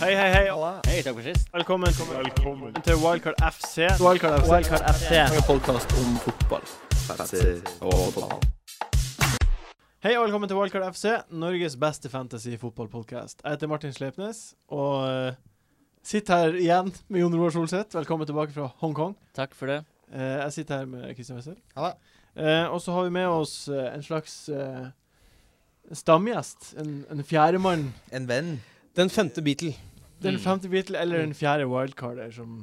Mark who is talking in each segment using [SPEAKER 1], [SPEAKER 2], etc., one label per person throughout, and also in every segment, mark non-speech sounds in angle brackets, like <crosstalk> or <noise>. [SPEAKER 1] Hei, hei, hei.
[SPEAKER 2] Hei, takk for sist.
[SPEAKER 1] Velkommen, til Wildcard FC.
[SPEAKER 3] Wildcard FC.
[SPEAKER 2] Wildcard FC.
[SPEAKER 3] En podkast om fotball.
[SPEAKER 1] Hei og velkommen til Wildcard FC, Norges beste fantasy-fotballpodkast. Jeg heter Martin Sleipnes og eh, sitter her igjen med Jon Roar Solseth. Velkommen tilbake fra Hongkong.
[SPEAKER 2] Takk for det.
[SPEAKER 1] Eh, jeg sitter her med Kristian Wessel.
[SPEAKER 4] Ja da.
[SPEAKER 1] Eh, og så har vi med oss eh, en slags eh, stamgjest. En, en fjerdemann.
[SPEAKER 4] En venn.
[SPEAKER 3] Den femte Beatle.
[SPEAKER 1] Den
[SPEAKER 2] Mm.
[SPEAKER 1] femte Beatle eller den fjerde wildcarder, som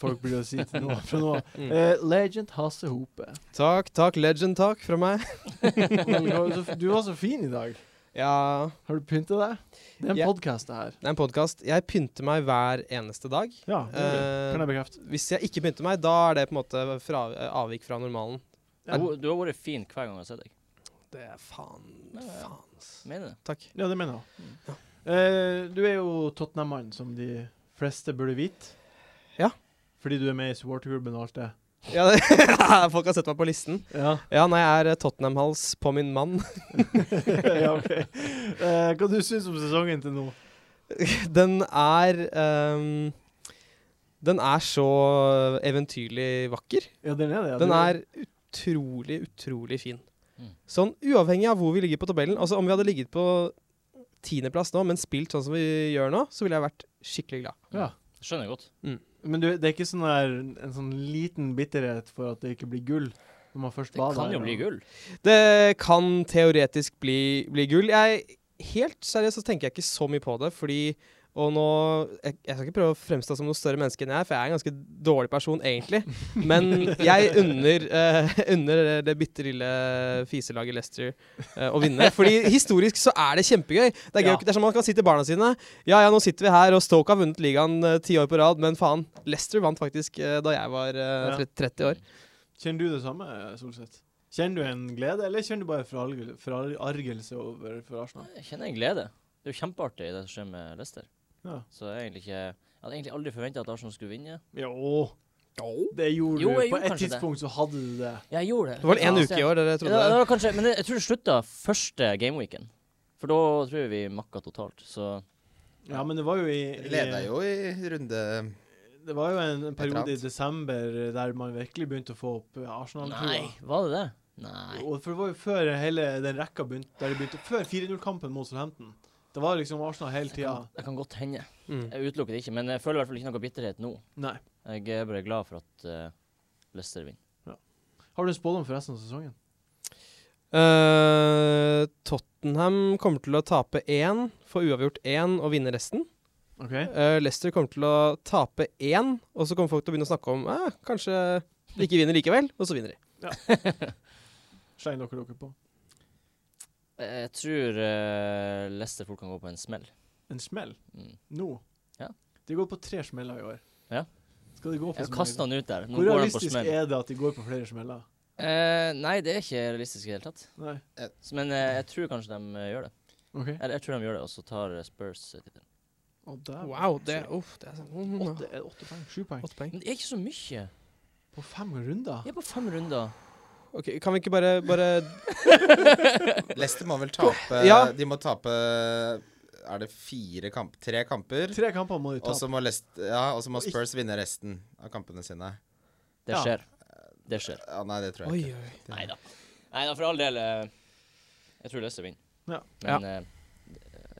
[SPEAKER 1] folk blir å si til
[SPEAKER 2] <laughs>
[SPEAKER 1] nå. Fra nå. av.
[SPEAKER 2] Mm.
[SPEAKER 1] Eh, Legend Hasse Hope.
[SPEAKER 3] Takk, takk. Legend, takk fra meg.
[SPEAKER 1] Du var så fin i dag.
[SPEAKER 3] <laughs> Ja,
[SPEAKER 1] Har du pynta deg? Det er en
[SPEAKER 3] Ja.
[SPEAKER 1] podcast, det her.
[SPEAKER 3] det er en podkast. Jeg pynter meg hver eneste dag.
[SPEAKER 1] Ja,
[SPEAKER 3] Eh,
[SPEAKER 1] kan jeg bekrefte.
[SPEAKER 3] hvis jeg ikke pynter meg, da er det på en måte fra, eh, avvik fra normalen.
[SPEAKER 1] Ja.
[SPEAKER 2] Du, du har vært fin hver gang jeg har sett deg. eh,
[SPEAKER 3] Det er faen, faen. ass.
[SPEAKER 2] Mener det.
[SPEAKER 3] Takk.
[SPEAKER 1] Ja, det mener jeg. Eh, du er jo Tottenham-mann, som de fleste burde vite.
[SPEAKER 3] Ja.
[SPEAKER 1] Fordi du er med i supporterklubben og alt det.
[SPEAKER 3] Ja, det, <laughs> folk har sett meg på listen.
[SPEAKER 1] Ja,
[SPEAKER 3] Ja, nei, jeg er eh, Tottenham-hals på min mann.
[SPEAKER 1] <laughs>
[SPEAKER 3] <laughs>
[SPEAKER 1] ja ok. Eh, hva du syns om sesongen til nå?
[SPEAKER 3] Den er ehm, Den er så eventyrlig vakker.
[SPEAKER 1] Ja, den er det. Ja.
[SPEAKER 3] Den
[SPEAKER 1] Du-
[SPEAKER 3] er utrolig, utrolig fin.
[SPEAKER 2] Mm.
[SPEAKER 3] Sånn uavhengig av hvor vi ligger på tabellen. Altså Om vi hadde ligget på tiendeplass nå, men spilt sånn som vi gjør nå, så ville jeg vært skikkelig glad.
[SPEAKER 1] ja.
[SPEAKER 2] Skjønner jeg godt.
[SPEAKER 1] Men du, det er ikke sånn der, en sånn liten bitterhet for at det ikke blir gull når man først
[SPEAKER 2] Det
[SPEAKER 1] bader?
[SPEAKER 2] kan jo
[SPEAKER 1] her,
[SPEAKER 2] bli
[SPEAKER 1] og-
[SPEAKER 2] gull.
[SPEAKER 3] Det kan teoretisk bli, bli gull. Jeg, helt seriøst så tenker jeg ikke så mye på det, fordi og nå, jeg, jeg skal ikke prøve å fremstå som noe større menneske enn jeg er, for jeg er en ganske dårlig person egentlig. Men jeg unner, eh, <laughs> unner det bitte lille fiselaget Leicester eh, å vinne. Fordi historisk så er det kjempegøy. Det er, gøy,
[SPEAKER 1] Ja.
[SPEAKER 3] det er som man kan si til barna sine. Ja ja, nå sitter vi her, og Stoke har vunnet ligaen eh, ti år på rad, men faen, Leicester vant faktisk eh, da jeg var
[SPEAKER 1] Ja.
[SPEAKER 3] eh, tre- 30 år.
[SPEAKER 1] Kjenner du det samme, Solseth? Kjenner du en glede, eller kjenner du bare forargel- forargelse over for Arsenal?
[SPEAKER 2] Jeg kjenner en glede. Det er jo kjempeartig det som skjer med Leicester.
[SPEAKER 1] Ja.
[SPEAKER 2] Så jeg er egentlig ikke Jeg hadde egentlig aldri forventa at Arsenal skulle vinne.
[SPEAKER 1] Jo, det gjorde
[SPEAKER 2] Jo,
[SPEAKER 1] du.
[SPEAKER 2] jeg
[SPEAKER 1] På
[SPEAKER 2] gjorde
[SPEAKER 1] et
[SPEAKER 2] kanskje det.
[SPEAKER 1] tidspunkt så hadde du det.
[SPEAKER 2] Ja, jeg gjorde det.
[SPEAKER 3] Det var vel én
[SPEAKER 2] Ja.
[SPEAKER 3] uke i år dere
[SPEAKER 2] Ja, det
[SPEAKER 3] trodde
[SPEAKER 2] var kanskje, men jeg tror det slutta første gameweeken. For da tror jeg vi makka totalt. Så
[SPEAKER 1] Ja, men det var jo i, i
[SPEAKER 4] Leda jo i runde
[SPEAKER 1] Det var jo en, en periode i
[SPEAKER 4] annet.
[SPEAKER 1] desember der man virkelig begynte å få opp eh, Arsenal-trua.
[SPEAKER 2] Nei, var det det? Nei.
[SPEAKER 1] Og for det var jo før hele den rekka begynte, der det begynte Før 4-0-kampen mot Southampton. Det var liksom Arsenal hele
[SPEAKER 2] Det
[SPEAKER 1] tida.
[SPEAKER 2] kan, det kan godt hende.
[SPEAKER 3] det. Mm.
[SPEAKER 2] Jeg utelukker det ikke, men jeg føler i hvert fall ikke noe bitterhet nå.
[SPEAKER 1] Nei.
[SPEAKER 2] Jeg er bare glad for at eh, Leicester vinner.
[SPEAKER 1] Har du en spådom for resten av sesongen?
[SPEAKER 3] Eh, Tottenham kommer til å tape én, få uavgjort én og vinne resten.
[SPEAKER 1] OK?
[SPEAKER 3] Eh, Leicester kommer til å tape én, og så kommer folk til å begynne å snakke om eh, kanskje de ikke vinner likevel, og så vinner de.
[SPEAKER 1] Slenger dere dere på?
[SPEAKER 2] Jeg tror eh, Leicester fort kan gå på en smell.
[SPEAKER 1] En smell?
[SPEAKER 2] Mm.
[SPEAKER 1] Nå?
[SPEAKER 2] Ja.
[SPEAKER 1] De går på tre smeller i år.
[SPEAKER 2] Ja.
[SPEAKER 1] Skal de gå på
[SPEAKER 2] Jeg kastet
[SPEAKER 1] smeller?
[SPEAKER 2] han ut der. Nå
[SPEAKER 1] Hvor
[SPEAKER 2] går han på
[SPEAKER 1] realistisk
[SPEAKER 2] smell.
[SPEAKER 1] er det at de går på flere smeller?
[SPEAKER 2] Eh, nei, det er ikke realistisk i det hele tatt.
[SPEAKER 1] Nei.
[SPEAKER 2] Så, Men eh, jeg tror kanskje de eh, gjør det.
[SPEAKER 1] OK.
[SPEAKER 2] Eller jeg tror de gjør det, og så tar eh, Spurs eh, tittelen.
[SPEAKER 1] Og der
[SPEAKER 3] Wow, det, uff, det er sånn mm, ja.
[SPEAKER 1] Åtte, er det åtte poeng? Sju poeng?
[SPEAKER 3] Åtte poeng.
[SPEAKER 2] Men det er ikke så mye.
[SPEAKER 1] På fem runder?
[SPEAKER 2] Vi er på fem runder.
[SPEAKER 3] Ok, Kan vi ikke bare, bare
[SPEAKER 4] Leicester må vel tape
[SPEAKER 3] Ja.
[SPEAKER 4] De må tape Er det fire kamp, tre kamper?
[SPEAKER 1] Tre kamper må de
[SPEAKER 4] Og
[SPEAKER 1] ta.
[SPEAKER 4] så må, Leicester- ja, og så må
[SPEAKER 1] Og ikke-
[SPEAKER 4] Spurs vinne resten av kampene sine.
[SPEAKER 2] Det
[SPEAKER 1] Ja.
[SPEAKER 2] skjer. Det skjer.
[SPEAKER 4] Ja, nei, det tror
[SPEAKER 3] Oi,
[SPEAKER 4] jeg ikke.
[SPEAKER 3] oi.
[SPEAKER 4] Ja.
[SPEAKER 2] Nei da. for all del. eh, jeg tror Leicester vinner.
[SPEAKER 1] Ja.
[SPEAKER 2] Men eh,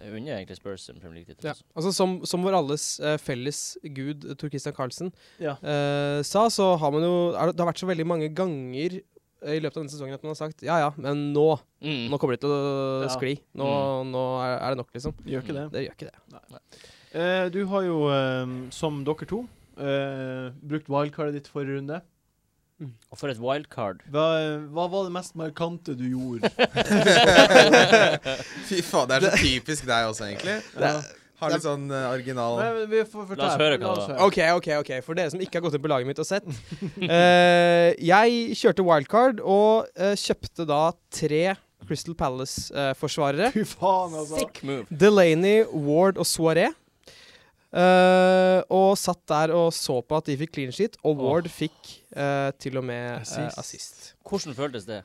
[SPEAKER 2] jeg unner egentlig Spurs en Premier League-tittel.
[SPEAKER 3] Ja.
[SPEAKER 2] også.
[SPEAKER 3] Altså, som, som vår alles eh, felles gud eh, Tor Christian Carlsen
[SPEAKER 1] Ja.
[SPEAKER 3] eh, sa, så har man jo er, Det har vært så veldig mange ganger eh, i løpet av denne sesongen at man har sagt ja ja, men nå
[SPEAKER 2] Mm.
[SPEAKER 3] Nå kommer de til å
[SPEAKER 1] Ja.
[SPEAKER 3] skli. Nå, nå er, er det nok, liksom.
[SPEAKER 1] Gjør ikke det.
[SPEAKER 3] Det gjør ikke det.
[SPEAKER 2] Mm.
[SPEAKER 1] Eh, du har jo, eh, som dere to, eh, brukt wildcardet ditt forrige runde.
[SPEAKER 2] Og for et wildcard.
[SPEAKER 1] <laughs> Hva, hva var det mest markante du gjorde?
[SPEAKER 4] Fy faen, det er så typisk deg også, egentlig. <laughs> Har litt sånn eh, original
[SPEAKER 1] Nei, men vi får fortelle.
[SPEAKER 2] La oss høre hva det
[SPEAKER 1] høre.
[SPEAKER 3] OK, OK, ok. For dere som ikke har gått inn på laget mitt og <laughs> sett. Eh, jeg kjørte wildcard og eh, kjøpte da tre Crystal Palace-forsvarere.
[SPEAKER 1] Fy faen, altså.
[SPEAKER 2] Sick move.
[SPEAKER 3] Delaney, Ward og Soiré. Eh, og satt der og så på at de fikk clean sheet, og Ward fikk eh, til og med eh,
[SPEAKER 1] Assist.
[SPEAKER 3] assist.
[SPEAKER 2] Hvordan føltes det?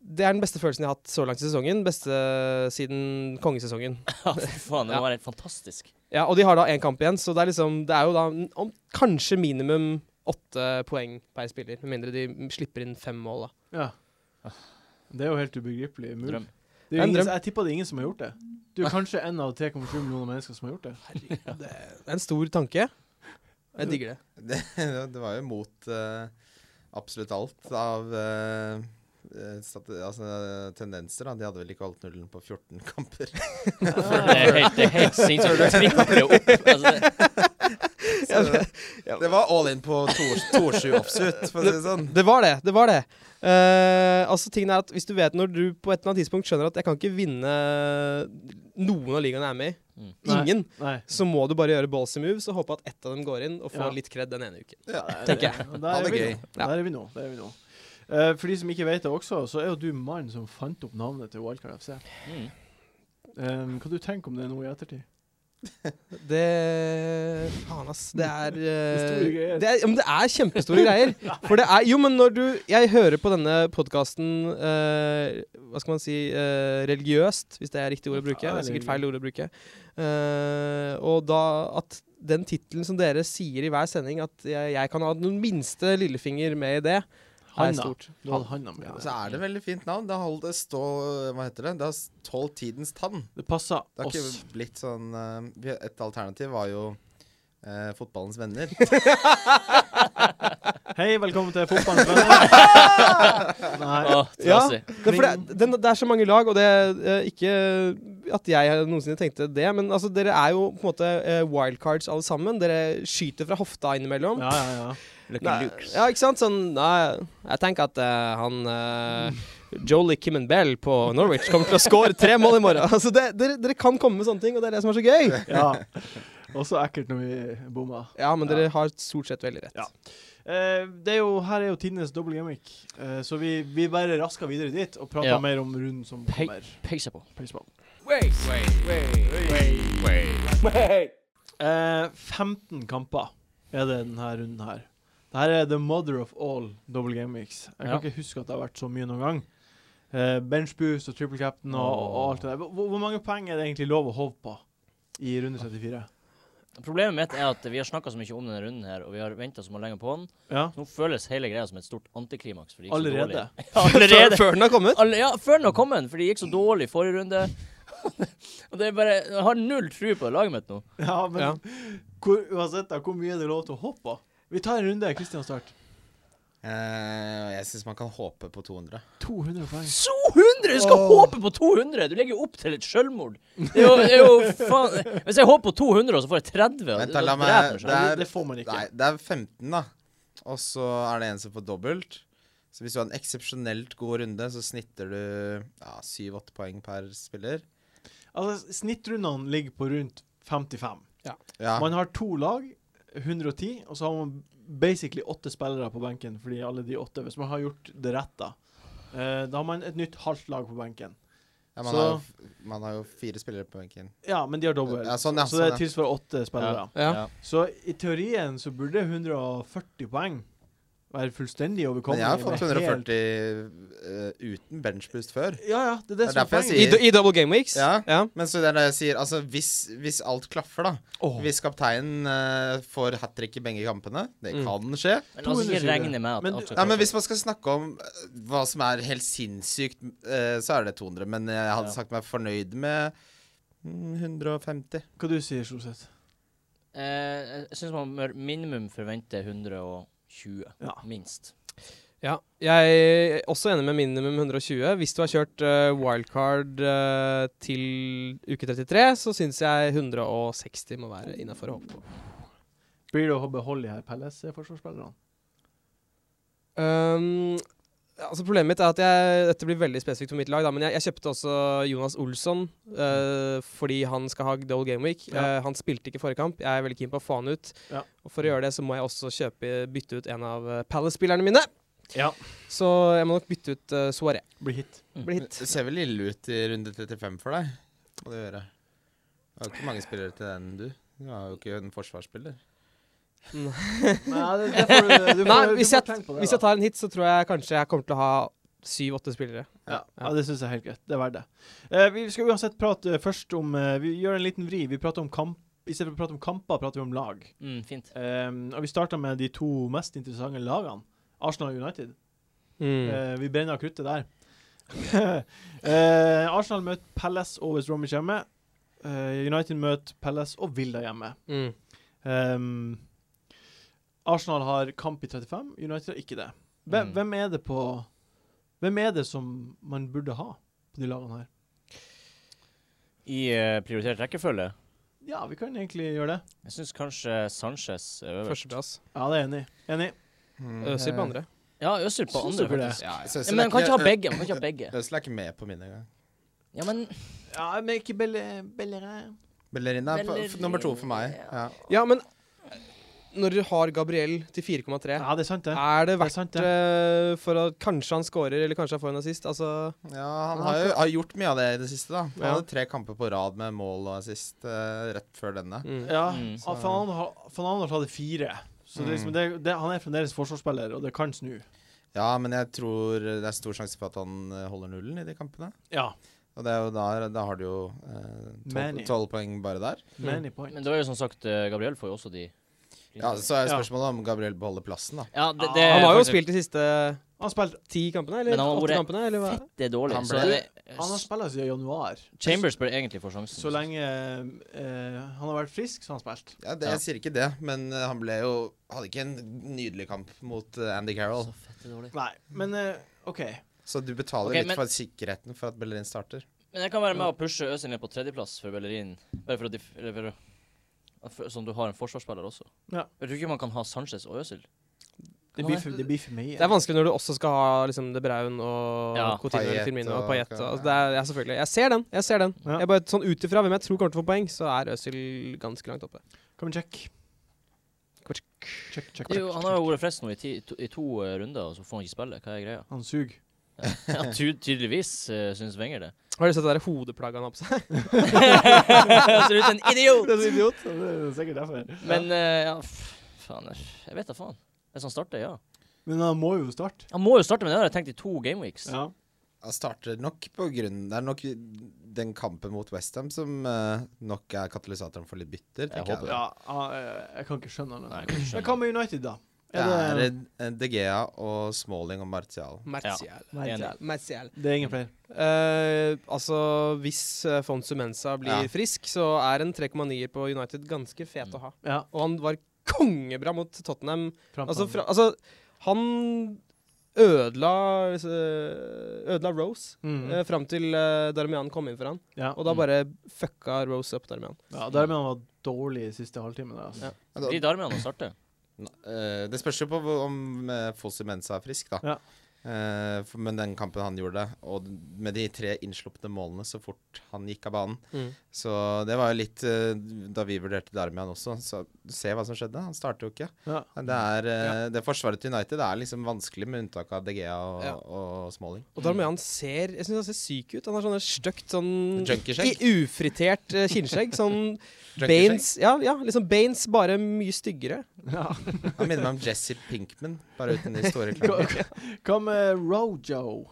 [SPEAKER 3] det er den beste følelsen jeg har hatt så langt i sesongen. Beste siden kongesesongen.
[SPEAKER 2] <laughs> Ja, fy faen, det må være helt fantastisk.
[SPEAKER 3] Ja, og de har da én kamp igjen, så det er, liksom, det er jo da n- om, kanskje minimum åtte poeng per spiller. Med mindre de m- slipper inn fem mål, da.
[SPEAKER 1] Ja. Det er jo helt ubegripelig. mulig.
[SPEAKER 2] Drøm.
[SPEAKER 1] Det er
[SPEAKER 3] En
[SPEAKER 1] jo ingen,
[SPEAKER 3] drøm.
[SPEAKER 1] jeg tipper det er ingen som har gjort det. Du er kanskje en av 3,7 millioner mennesker som har gjort det.
[SPEAKER 3] Det er en stor tanke. Jeg digger det.
[SPEAKER 4] Det, <laughs> det var jo mot eh, absolutt alt av eh, eh, stati- altså, tendenser. Da. De hadde vel ikke holdt nullen på 14 kamper.
[SPEAKER 2] <laughs>
[SPEAKER 4] <laughs>
[SPEAKER 2] Det er helt, det er helt sinnssykt. Du tripler jo opp. Altså, <laughs> det,
[SPEAKER 4] Så det, det var all in på Tor- Torsju offsuit, for å si det sånn.
[SPEAKER 3] Det var det. det var det. Eh, altså tingen er at Hvis du vet når du på et eller annet tidspunkt skjønner at jeg kan ikke vinne noen av ligaene jeg er med i,
[SPEAKER 2] Mm.
[SPEAKER 1] Nei.
[SPEAKER 3] ingen,
[SPEAKER 1] Nei.
[SPEAKER 3] så må du bare gjøre ballsy moves og håpe at ett av dem går inn, og få
[SPEAKER 1] Ja.
[SPEAKER 3] litt cred den ene uken.
[SPEAKER 4] Ja,
[SPEAKER 3] Tenker jeg.
[SPEAKER 1] Og
[SPEAKER 4] Ha
[SPEAKER 1] Der er
[SPEAKER 4] det
[SPEAKER 1] vi
[SPEAKER 4] gøy.
[SPEAKER 1] nå. Der er vi nå. Der er vi nå. Eh, for de som ikke vet det også, så er jo du mannen som fant opp navnet til Wildcard FC.
[SPEAKER 2] mm.
[SPEAKER 1] Um, hva du tenker om det nå i ettertid?
[SPEAKER 3] Det Faen, ass. Det er eh,
[SPEAKER 1] Det er store greier.
[SPEAKER 3] det er, ja, men det er kjempestore
[SPEAKER 1] <laughs>
[SPEAKER 3] greier. For det er Jo, men når du Jeg hører på denne podkasten Hva skal man si eh, religiøst, hvis det er riktig ord å bruke.
[SPEAKER 1] Ja,
[SPEAKER 3] det er sikkert feil ord å bruke. Eh, og da at den tittelen som dere sier i hver sending, at jeg, jeg kan ha den minste lillefinger med i det, er
[SPEAKER 1] Hanna.
[SPEAKER 3] stort.
[SPEAKER 1] Du hadde Hanna med
[SPEAKER 4] Så
[SPEAKER 1] det.
[SPEAKER 4] er det veldig fint navn. Det har holdt det stå Hva heter det? Det har tålt tidens tann.
[SPEAKER 1] Det passer
[SPEAKER 4] Det har
[SPEAKER 1] oss.
[SPEAKER 4] ikke blitt sånn eh, vi- Et alternativ var jo eh, Fotballens
[SPEAKER 1] <laughs>
[SPEAKER 4] venner.
[SPEAKER 1] Hei, velkommen til fotballens venner. Nei.
[SPEAKER 2] Å, trasig.
[SPEAKER 3] Det, er for det, den, det er så mange lag, og det eh, ikke at jeg noensinne tenkte det, men altså, dere er jo på en måte eh, wildcards alle sammen. Dere skyter fra hofta innimellom.
[SPEAKER 1] Ja, ja, ja.
[SPEAKER 3] Nei, ja, ikke sant? Sånn, nei, jeg tenker at eh, han uh, Jolie Bell på Norwich kommer til å score tre mål i morgen. <laughs> Altså, det, dere, dere kan komme med sånne ting, og det er det som er så gøy.
[SPEAKER 1] ja. Også ekkelt når vi bomma.
[SPEAKER 3] Ja, men dere har stort sett veldig rett.
[SPEAKER 1] Ja. Eh, det er jo, her er jo tidenes dobbel gimmick, eh, så vi, vi bare rasker videre dit og prater
[SPEAKER 2] Ja.
[SPEAKER 1] mer om runden som
[SPEAKER 2] Hei.
[SPEAKER 1] kommer.
[SPEAKER 2] Peiser på.
[SPEAKER 1] Pølseball.
[SPEAKER 3] <laughs>
[SPEAKER 5] Wait.
[SPEAKER 1] Eh, 15 kamper er det denne runden her. Dette er the mother of all double gimmics. Jeg kan
[SPEAKER 2] Ja.
[SPEAKER 1] ikke huske at det har vært så mye noen gang. Eh, bench boost og triple captain og, og alt det der. Hvor, hvor mange poeng er det egentlig lov å hove på i runde 34?
[SPEAKER 2] Problemet mitt er at vi har snakka så mye om denne runden her, og vi har venta så lenge på den.
[SPEAKER 1] Ja,
[SPEAKER 2] Nå føles hele greia som et stort antiklimaks. For det gikk så
[SPEAKER 1] allerede.
[SPEAKER 2] dårlig. <laughs> Ja, allerede.
[SPEAKER 3] Før, før den har kommet.
[SPEAKER 2] Alle, ja, før den har kommet, for det gikk så dårlig forrige runde. <laughs> Og det er bare, Jeg har null tro på det laget mitt nå.
[SPEAKER 1] Ja, men
[SPEAKER 3] Ja.
[SPEAKER 1] Hvor, uansett da, hvor mye er det lov til å hoppe på? Vi tar en runde. Kristian start.
[SPEAKER 4] Eh, jeg syns man kan håpe på 200.
[SPEAKER 1] 200 poeng.
[SPEAKER 2] 200! Du skal
[SPEAKER 1] Åh.
[SPEAKER 2] håpe på 200! Du legger jo opp til et selvmord. Det er jo, det er jo faen Hvis jeg håper på 200, og så får jeg 30
[SPEAKER 4] Vent,
[SPEAKER 2] da
[SPEAKER 4] da, la
[SPEAKER 2] dreper
[SPEAKER 4] meg
[SPEAKER 2] jeg
[SPEAKER 1] seg.
[SPEAKER 4] det
[SPEAKER 1] Det-
[SPEAKER 4] er-
[SPEAKER 1] det får man ikke.
[SPEAKER 4] Nei, det er 15, da. Og så er det en som får dobbelt. Så hvis du har en eksepsjonelt god runde, så snitter du ja, 7-8 poeng per spiller.
[SPEAKER 1] Altså, snittrundene ligger på rundt 55.
[SPEAKER 4] Ja,
[SPEAKER 1] Man har to lag, 110, og så har man basically åtte spillere på benken fordi alle de åtte, hvis man har gjort det rett, da. Eh, da har man et nytt halvt lag på benken.
[SPEAKER 4] ja man,
[SPEAKER 1] så-
[SPEAKER 4] har jo, f- man har jo fire spillere på benken.
[SPEAKER 1] Ja, men de har dobbelt.
[SPEAKER 4] Ja, sånn, ja,
[SPEAKER 1] så det
[SPEAKER 4] sånn, ja.
[SPEAKER 1] tilsvarer åtte spillere.
[SPEAKER 3] Ja.
[SPEAKER 4] Ja.
[SPEAKER 1] Så i teorien så burde 140 poeng være fullstendig
[SPEAKER 4] Men
[SPEAKER 1] overkommelig.
[SPEAKER 4] jeg har
[SPEAKER 1] med
[SPEAKER 4] fått
[SPEAKER 1] helt-
[SPEAKER 4] 140 eh, uten benchboost før.
[SPEAKER 1] Ja, ja, det er det,
[SPEAKER 4] Det er
[SPEAKER 1] som er
[SPEAKER 4] derfor jeg
[SPEAKER 1] poenget.
[SPEAKER 3] I,
[SPEAKER 4] sier-
[SPEAKER 3] I double game weeks.
[SPEAKER 4] Ja.
[SPEAKER 3] ja.
[SPEAKER 4] Men så det er det jeg sier, altså hvis, hvis alt klaffer, da.
[SPEAKER 1] Åh.
[SPEAKER 4] Hvis kapteinen eh, får hat trick i begge kampene, det
[SPEAKER 3] Mm.
[SPEAKER 4] kan skje.
[SPEAKER 2] Men la oss ikke
[SPEAKER 1] 220.
[SPEAKER 2] regne med at
[SPEAKER 1] Men
[SPEAKER 2] alt
[SPEAKER 1] du-
[SPEAKER 2] skal
[SPEAKER 4] Nei, men
[SPEAKER 2] klare
[SPEAKER 4] Hvis
[SPEAKER 2] seg.
[SPEAKER 4] man skal snakke om eh, hva som er helt sinnssykt, eh, så er det 200. Men jeg
[SPEAKER 2] Ja.
[SPEAKER 4] hadde sagt meg fornøyd med mm, 150.
[SPEAKER 1] Hva du sier Solseth?
[SPEAKER 2] Eh, Jeg syns man bør minimum forvente 120.
[SPEAKER 1] Ja.
[SPEAKER 2] Minst.
[SPEAKER 3] Ja, jeg er også enig med minimum 120. Hvis du har kjørt eh, wildcard eh, til uke 33, så syns jeg 160 må være innafor å håpe på.
[SPEAKER 1] Blir det å beholde de her Pelles-forsvarsspillerne?
[SPEAKER 3] Um, altså Problemet mitt er at jeg, dette blir veldig spesifikt for mitt lag, da, men jeg, jeg kjøpte også Jonas Olsson eh, fordi han skal ha Dole Game Week.
[SPEAKER 1] Ja.
[SPEAKER 3] Eh, han spilte ikke forrige kamp. Jeg er veldig keen på å få han ut.
[SPEAKER 1] Ja.
[SPEAKER 3] Og For å gjøre det så må jeg også kjøpe, bytte ut en av eh, Palace-spillerne mine.
[SPEAKER 1] Ja.
[SPEAKER 3] Så jeg må nok bytte ut uh, Soaré.
[SPEAKER 1] Blir hit.
[SPEAKER 3] Blir hit.
[SPEAKER 4] Det ser vel ille ut i runde 35 for deg. Må det gjøre. Det var ikke mange spillere til den, du. Du var jo ikke en forsvarsspiller.
[SPEAKER 1] Nei, det, det får du, du får,
[SPEAKER 3] Nei,
[SPEAKER 1] du
[SPEAKER 3] hvis
[SPEAKER 1] får
[SPEAKER 3] jeg,
[SPEAKER 1] tenke på det,
[SPEAKER 3] hvis jeg
[SPEAKER 1] da.
[SPEAKER 3] tar en hit, så tror jeg kanskje jeg kommer til å ha syv-åtte spillere.
[SPEAKER 1] Ja,
[SPEAKER 3] Ja.
[SPEAKER 1] ja det syns jeg er helt greit. Det er verdt det. Eh, vi skal uansett prate først om eh, Vi gjør en liten vri. Vi prater om kamp I stedet for å prate om kamper, prater vi om lag.
[SPEAKER 2] Mm, fint.
[SPEAKER 1] Ehm, og vi starta med de to mest interessante lagene. Arsenal og United.
[SPEAKER 3] Mm.
[SPEAKER 1] Eh, vi brenner kruttet der. <laughs> Eh, Arsenal møter Palace og West Bromwich hjemme. Eh, United møter Palace og Villa hjemme.
[SPEAKER 3] Mm.
[SPEAKER 1] Ehm, Arsenal har kamp i 35, United har ikke det. Hvem,
[SPEAKER 4] Mm.
[SPEAKER 1] hvem er det på Hvem er det som man burde ha på de lagene her?
[SPEAKER 2] I eh, prioritert rekkefølge.
[SPEAKER 1] Ja, vi kan egentlig gjøre det.
[SPEAKER 2] Jeg syns kanskje Sanchez er øverst.
[SPEAKER 3] Førsteplass.
[SPEAKER 1] Ja, det er jeg enig. i. Enig.
[SPEAKER 4] Mm.
[SPEAKER 3] Øzil på andre.
[SPEAKER 2] Ja, Øzil på
[SPEAKER 1] Syns
[SPEAKER 2] andre,
[SPEAKER 1] dere det?
[SPEAKER 2] faktisk.
[SPEAKER 4] Ja,
[SPEAKER 2] Ja, men man kan ikke ha begge. Man kan ikke ha <laughs> begge.
[SPEAKER 4] Øzil er ikke med på min engang.
[SPEAKER 2] Ja, men
[SPEAKER 1] Ja, men ikke Belle- Bellerin.
[SPEAKER 4] Bellerina er på, f nummer to for meg. Ja.
[SPEAKER 3] Ja, men eh, når du har Gabriel til 4,3,
[SPEAKER 1] Ja, det er sant, det.
[SPEAKER 3] er det
[SPEAKER 1] Det er
[SPEAKER 3] verdt
[SPEAKER 1] sant, det.
[SPEAKER 3] eh, for at kanskje han scorer, eller kanskje han får en assist? Altså,
[SPEAKER 4] Ja, han har jo har gjort mye av det i det siste, da. Han
[SPEAKER 3] Ja.
[SPEAKER 4] hadde tre kamper på rad med mål og assist eh, rett før denne.
[SPEAKER 3] mm.
[SPEAKER 1] Ja,
[SPEAKER 2] Mm.
[SPEAKER 1] ah, Fernando har- Fernando hadde fire. Så det, er liksom, det, det, han er fremdeles forsvarsspiller, og det kan snu.
[SPEAKER 4] Ja, men jeg tror det er stor sjanse for at han eh, holder nullen i de kampene.
[SPEAKER 1] Ja.
[SPEAKER 4] Og det er jo der, da har du jo eh, tolv
[SPEAKER 1] Many.
[SPEAKER 4] tolv poeng bare der.
[SPEAKER 1] Many Mm. point.
[SPEAKER 2] Men det var jo som sagt eh, Gabriel får jo også de.
[SPEAKER 4] Ja, Så er jo
[SPEAKER 1] Ja.
[SPEAKER 4] spørsmålet om Gabriel beholder plassen, da.
[SPEAKER 2] Ja, det,
[SPEAKER 1] Ah,
[SPEAKER 2] det er
[SPEAKER 3] Han har jo
[SPEAKER 2] faktisk-
[SPEAKER 3] spilt de siste
[SPEAKER 1] Han, spilte-
[SPEAKER 3] ti kampene,
[SPEAKER 2] Men
[SPEAKER 3] eller
[SPEAKER 2] han har
[SPEAKER 3] åtte
[SPEAKER 2] vært
[SPEAKER 3] kampene, eller hva?
[SPEAKER 2] Det er dårlig.
[SPEAKER 4] Han
[SPEAKER 2] Så
[SPEAKER 4] ble-
[SPEAKER 2] det,
[SPEAKER 1] han har spilt siden januar.
[SPEAKER 2] Chambers bør egentlig få sjansen.
[SPEAKER 1] Så lenge eh, han har vært frisk, så har han spilt.
[SPEAKER 4] Ja, det, Jeg sier ikke det, men eh, han ble jo Hadde ikke en nydelig kamp mot eh, Andy Carroll.
[SPEAKER 2] Så fette dårlig.
[SPEAKER 1] Nei, men eh, OK.
[SPEAKER 4] Så du betaler
[SPEAKER 2] Ok,
[SPEAKER 4] litt
[SPEAKER 2] men-
[SPEAKER 4] for sikkerheten for at Bellerin starter.
[SPEAKER 2] Men jeg kan være med og pushe Øzil ned på tredjeplass for Bellerin. Bare for å diff... Eller for å at for- Sånn du har en forsvarsspiller også.
[SPEAKER 1] Ja.
[SPEAKER 2] Jeg tror ikke man kan ha Sanchez og Øzil.
[SPEAKER 1] Det blir for, det blir for mye.
[SPEAKER 3] Det er vanskelig når du også skal ha liksom, De Braun og
[SPEAKER 2] Ja.
[SPEAKER 3] Coutinho
[SPEAKER 4] Payet
[SPEAKER 3] eller Firmino
[SPEAKER 4] og-
[SPEAKER 3] og Payet. Og, altså, det er, ja, selvfølgelig. Jeg ser den. jeg ser den.
[SPEAKER 1] Ja.
[SPEAKER 3] Jeg bare, sånn Ut ifra hvem jeg tror kommer til å få poeng, så er Øzil ganske langt oppe.
[SPEAKER 1] Kom og sjekk.
[SPEAKER 3] Kom og
[SPEAKER 1] Sjekk, sjekk,
[SPEAKER 2] Det er jo,
[SPEAKER 1] sjekk.
[SPEAKER 2] han har jo vært frisk nå i, ti, to, i to eh, runder, og så får han ikke spille. Hva er greia?
[SPEAKER 1] Han suger.
[SPEAKER 2] <laughs> Ja, ty tydeligvis uh, syns Wenger <laughs> det.
[SPEAKER 3] Har du sett det der hodeplagget han har på seg?
[SPEAKER 2] Ser ut som en idiot!
[SPEAKER 1] Det er så idiot. Det er sikkert derfor.
[SPEAKER 2] Men eh, ja, f- faen jeg- Jeg vet da faen. Hvis han starter, ja.
[SPEAKER 1] Men han må jo starte.
[SPEAKER 2] Han må jo starte, men det har jeg tenkt i to gameweeks.
[SPEAKER 1] Ja.
[SPEAKER 4] Han starter nok på grunn Det er nok den kampen mot Westham som eh, nok er katalysatoren for litt bytter,
[SPEAKER 2] Jeg
[SPEAKER 4] tenker
[SPEAKER 2] håper
[SPEAKER 4] jeg.
[SPEAKER 1] ja ah, eh, jeg kan ikke skjønne
[SPEAKER 2] Nei, jeg
[SPEAKER 1] det.
[SPEAKER 2] kan ikke
[SPEAKER 1] Men
[SPEAKER 2] skjønne.
[SPEAKER 1] hva med United, da?
[SPEAKER 4] Det
[SPEAKER 1] Er
[SPEAKER 4] er
[SPEAKER 1] det,
[SPEAKER 4] eh, De Gea og Smalling og Martial.
[SPEAKER 3] <laughs> Martial.
[SPEAKER 2] Enig.
[SPEAKER 3] Martial.
[SPEAKER 1] det er ingen flere.
[SPEAKER 3] Eh, altså, hvis uh, Fonsu Mensa blir
[SPEAKER 4] Ja.
[SPEAKER 3] frisk, så er en 3,9-er på United ganske fet
[SPEAKER 2] Mm.
[SPEAKER 3] å ha.
[SPEAKER 1] Ja,
[SPEAKER 3] Og han var kongebra mot Tottenham.
[SPEAKER 1] fram til
[SPEAKER 3] Altså,
[SPEAKER 1] han.
[SPEAKER 3] fra, altså han ødela eh, Ødela Rose
[SPEAKER 1] Mhm.
[SPEAKER 3] eh, fram til eh, Darmian kom inn for han.
[SPEAKER 1] ja.
[SPEAKER 3] Og da
[SPEAKER 2] Mm.
[SPEAKER 3] bare fucka Rose opp Darmian.
[SPEAKER 1] ja, Dermed han var dårlig i siste halvtimen. der, Altså.
[SPEAKER 3] Ja.
[SPEAKER 4] Altså,
[SPEAKER 2] Blir Darmian å starte?
[SPEAKER 4] eh, det spørs jo på hvor- om uh, Fossi Mensa er frisk, da.
[SPEAKER 1] Ja.
[SPEAKER 4] Eh, for, men den kampen han gjorde, og med de tre innslupne målene så fort han gikk av banen Så det var jo litt eh, Da vi vurderte Darmian også, så se hva som skjedde. Han starter jo ikke.
[SPEAKER 1] Ja. <laughs>
[SPEAKER 4] Det, er, eh, det forsvaret til United er liksom vanskelig, med unntak av DGA og,
[SPEAKER 3] Ja.
[SPEAKER 4] og Smalling.
[SPEAKER 3] Og Darmian ser Jeg synes han ser syk ut. Han har sånne stygt sånn
[SPEAKER 4] Junkieskjegg?
[SPEAKER 3] i- Ufritert eh, kinnskjegg. Sånn
[SPEAKER 4] Junkieskjegg?
[SPEAKER 3] Baines ja, ja, liksom Baines, bare mye styggere.
[SPEAKER 4] Han minner meg om Jesse Pinkman, bare uten de store klærne.
[SPEAKER 1] Hva med Rojo?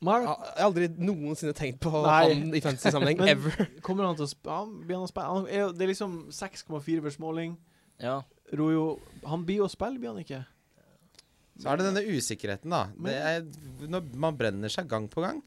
[SPEAKER 1] Mark,
[SPEAKER 3] Jeg har aldri noensinne tenkt på
[SPEAKER 1] Nei.
[SPEAKER 3] han i <laughs> fantasy-sammenheng.
[SPEAKER 1] Men-
[SPEAKER 3] ever.
[SPEAKER 1] kommer han til å sp han, blir han å spille? Han er, jo- det er liksom 6,4 for Småling.
[SPEAKER 2] Ja.
[SPEAKER 1] Rojo Han blir jo å spille, blir han ikke?
[SPEAKER 4] Så er det denne usikkerheten, da. Det er, når man brenner seg gang på gang